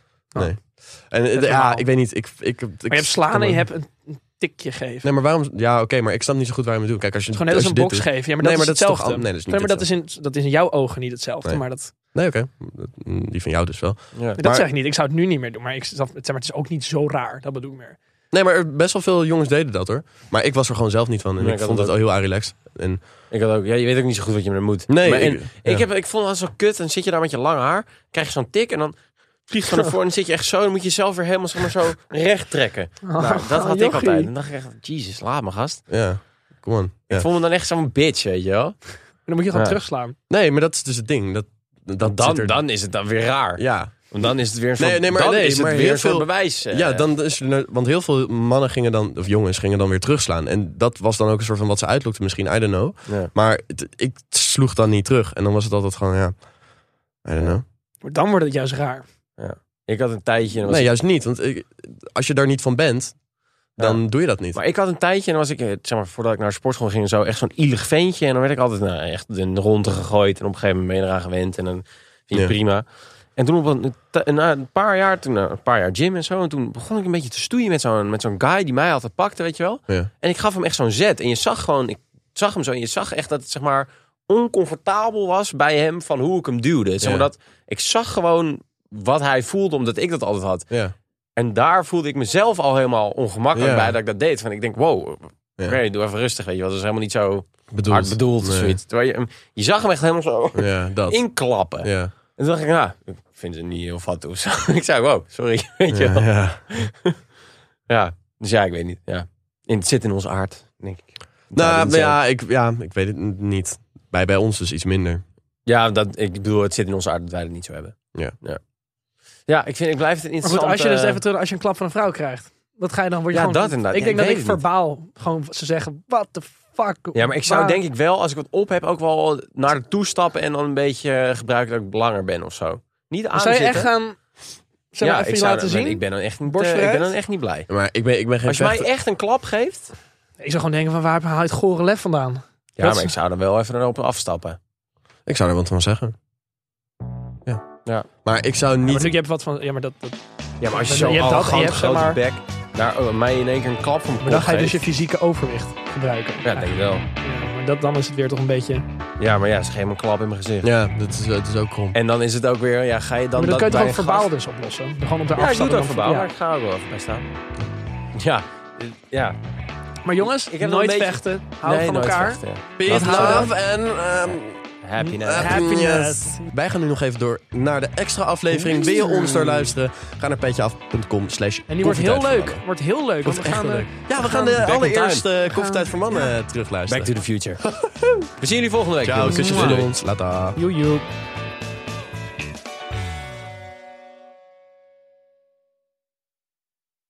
F: En, eh,
G: is normaal.
F: ja, ik weet niet. Ik, ik, ik,
G: Maar je hebt slaan en
F: kan
G: je
F: me-
G: hebt een, een tikje geven.
F: Nee, maar waarom? Ja, oké, maar ik snap niet zo goed waarom je het doet. Kijk, als je
G: Het is gewoon net als
F: je dit
G: een box
F: doet-
G: geven. Ja, maar
F: Nee,
G: dat
F: maar
G: is
F: dat is toch
G: hetzelfde.
F: an- nee, dat is niet
G: Nee, maar dat is, in, dat is in jouw ogen niet hetzelfde.
F: Nee.
G: Maar dat,
F: Nee, oké. Die van jou dus wel.
D: Ja.
G: dat
F: Maar-
G: zeg ik niet. Ik zou het nu niet meer doen. Maar, ik, snap- zeg maar het is ook niet zo raar. Dat bedoel ik meer.
F: Nee, maar er- best wel veel jongens deden dat hoor. Maar ik was er gewoon zelf niet van. En
D: Nee,
F: ik
D: ik had
F: vond
D: het
F: het al heel aan relaxed. En,
D: Ik had ook, ja, je weet ook niet zo goed wat je met hem moet.
F: nee,
D: Maar en-
F: ik, ja.
D: Ik, heb, ik vond het zo kut. Dan zit je daar met je lang haar. Krijg je zo'n tik. En dan vlieg je naar voren. En dan zit je echt zo. Dan moet je zelf weer helemaal zeg maar, zo recht trekken. nou, dat had ik
G: jochie.
D: altijd. Dan dacht ik echt, jezus, laat me gast.
F: Ja, come on. Ja.
D: Ik vond me dan echt zo'n bitch, weet je wel.
G: En dan moet je gewoon
D: Ja.
G: terugslaan.
F: Nee, maar dat is dus het ding. Dat, dat
D: Dan,
F: zit er-
D: dan is het dan weer raar.
F: Ja.
D: Want dan is het weer een soort,
F: Nee, nee, maar
D: dan
F: nee,
D: is het
F: maar
D: weer
F: heel
D: een soort
F: veel-
D: bewijs. eh.
F: ja, dan is er, nou- want heel veel mannen gingen dan, of jongens, gingen dan weer terugslaan. En dat was dan ook een soort van wat ze uitlokte misschien, I don't know.
D: Ja.
F: Maar het- ik sloeg dan niet terug. En dan was het altijd gewoon, ja, I don't know.
G: Maar dan wordt het juist raar.
D: Ik had een tijdje. en dan was
F: Nee,
D: ik-
F: juist niet. Want ik- als je daar niet van bent, dan doe je dat niet.
D: Maar ik had een tijdje. En dan was ik, eh, zeg maar, voordat ik naar de sportschool ging. en Zo echt zo'n ielig ventje. En dan werd ik altijd nou, echt in de ronde gegooid. En op een gegeven moment ben je eraan gewend. En dan vind je het
F: Ja.
D: prima. En toen op een, t- na een paar jaar, toen nou, een paar jaar gym en zo. En toen begon ik een beetje te stoeien met zo'n met zo'n guy die mij altijd pakte, weet je wel.
F: Ja.
D: En ik gaf hem echt zo'n zet. En je zag gewoon, ik zag hem zo. En je zag echt dat het zeg maar oncomfortabel was bij hem van hoe ik hem duwde. Zeg maar
F: Ja.
D: dat, ik zag gewoon wat hij voelde, omdat ik dat altijd had.
F: Ja.
D: En daar voelde ik mezelf al helemaal ongemakkelijk
F: Ja.
D: bij dat ik dat deed. Van ik denk, wow,
F: Ja.
D: oké, doe even rustig, weet je wel. Dat is helemaal niet zo
F: Bedoeld.
D: hard bedoeld of
F: Nee.
D: zoiets. Terwijl je, hem- je zag hem echt helemaal zo
F: Ja, dat.
D: inklappen.
F: Ja.
D: En toen dacht ik, nou, ik vind het niet heel fat of zo. ik zei, wow, sorry, weet je
F: Ja,
D: wel. Ja.
F: ja.
D: dus ja, ik weet niet. Ja. En het zit in onze aard, denk ik.
F: Nou,
D: dat-
F: ja, ik, ja, ik weet het n- niet. Bij, bij ons dus iets minder.
D: Ja, dat, ik bedoel, het zit in onze aard dat wij het niet zo hebben.
F: Ja.
D: Ja, ja ik, vind, ik blijf het
G: Maar
D: interessant.
G: goed, als je dus
D: eh,
G: even terug, als je een klap van een vrouw krijgt. Dat ga je dan, word je
D: Ja,
G: gewoon...
D: dat inderdaad.
G: Ik
D: Ja,
G: denk
D: ik
G: dat
D: weet
G: ik
D: het niet.
G: verbaal gewoon ze zeggen, what the fuck.
D: Ja, maar ik zou
G: waar-
D: denk ik wel, als ik wat op heb, ook wel naar de toe stappen en dan een beetje eh, gebruiken dat ik langer ben of zo. Niet aan
G: Zou je echt gaan... Zeg maar
D: ja,
G: even
D: ik,
G: je
D: zou-
G: laten
D: ben-
G: zien.
D: ik ben dan echt niet,
G: Borst
D: eh, ik
G: vooruit.
D: ben dan echt niet blij.
F: Maar ik ben, ik ben geen
D: Als je mij
F: vechter.
D: echt een klap geeft,
G: Ik zou gewoon denken van waar haalt het gore lef vandaan?
D: ja,
G: Dat-
D: maar ik zou dan wel even erop afstappen.
F: Ik zou er wat van zeggen. Ja.
D: Ja.
F: Maar ik zou
G: Ja,
F: niet...
G: maar natuurlijk, je hebt wat van... Ja, maar dat, dat-
D: Ja, maar als je
G: je
D: zo
G: hebt dat, je
D: arrogant
G: hebt, zeg
D: grote
G: maar-
D: bek naar eh, mij in één keer een klap van
G: maar dan ga je dus je fysieke overwicht gebruiken.
D: Ja, denk ik wel.
G: Ja, maar dat, dan is het weer toch een beetje... Maar
D: Ja, maar ja, ze geven me een klap in mijn gezicht.
F: Ja, dat is, het is ook krom.
D: En dan is het ook weer, ja, ga je dan
G: dan
D: dat
G: kun je het gewoon
D: bij een
G: verbaal
D: gast-
G: dus oplossen. Gewoon op de
D: Ja, ik doe
G: afstand.
D: het
G: en
D: ook
G: dan-
D: verbaal,
G: ja.
D: maar ik ga er wel even bij staan. Ja, eh, ja.
G: Maar jongens,
D: Ik heb nog
G: nooit
D: een beetje-
G: vechten. Hou
D: Nee,
G: van
D: nooit
G: elkaar.
D: vechten.
F: Peace,
D: Wat gaan we
F: love en ehm,
G: mm,
D: Happiness.
F: happiness. Wij gaan nu nog even door naar de extra aflevering. Wil je ons daar luisteren? Ga naar petjeaf.com slash
G: En die wordt heel
F: koffietijd
G: leuk. Wordt heel leuk. Want we
F: echt
G: gaan...
F: wel
G: eh,
F: leuk. Ja, we gaan
G: gaan
F: de
D: Back in
F: allereerste Koffietijd voor Mannen
D: Back
F: terugluisteren.
D: to the future. We zien jullie volgende week.
F: Ciao,
D: jongens.
F: kusjes
D: Doei.
F: van ons. Later.
G: joe, joe.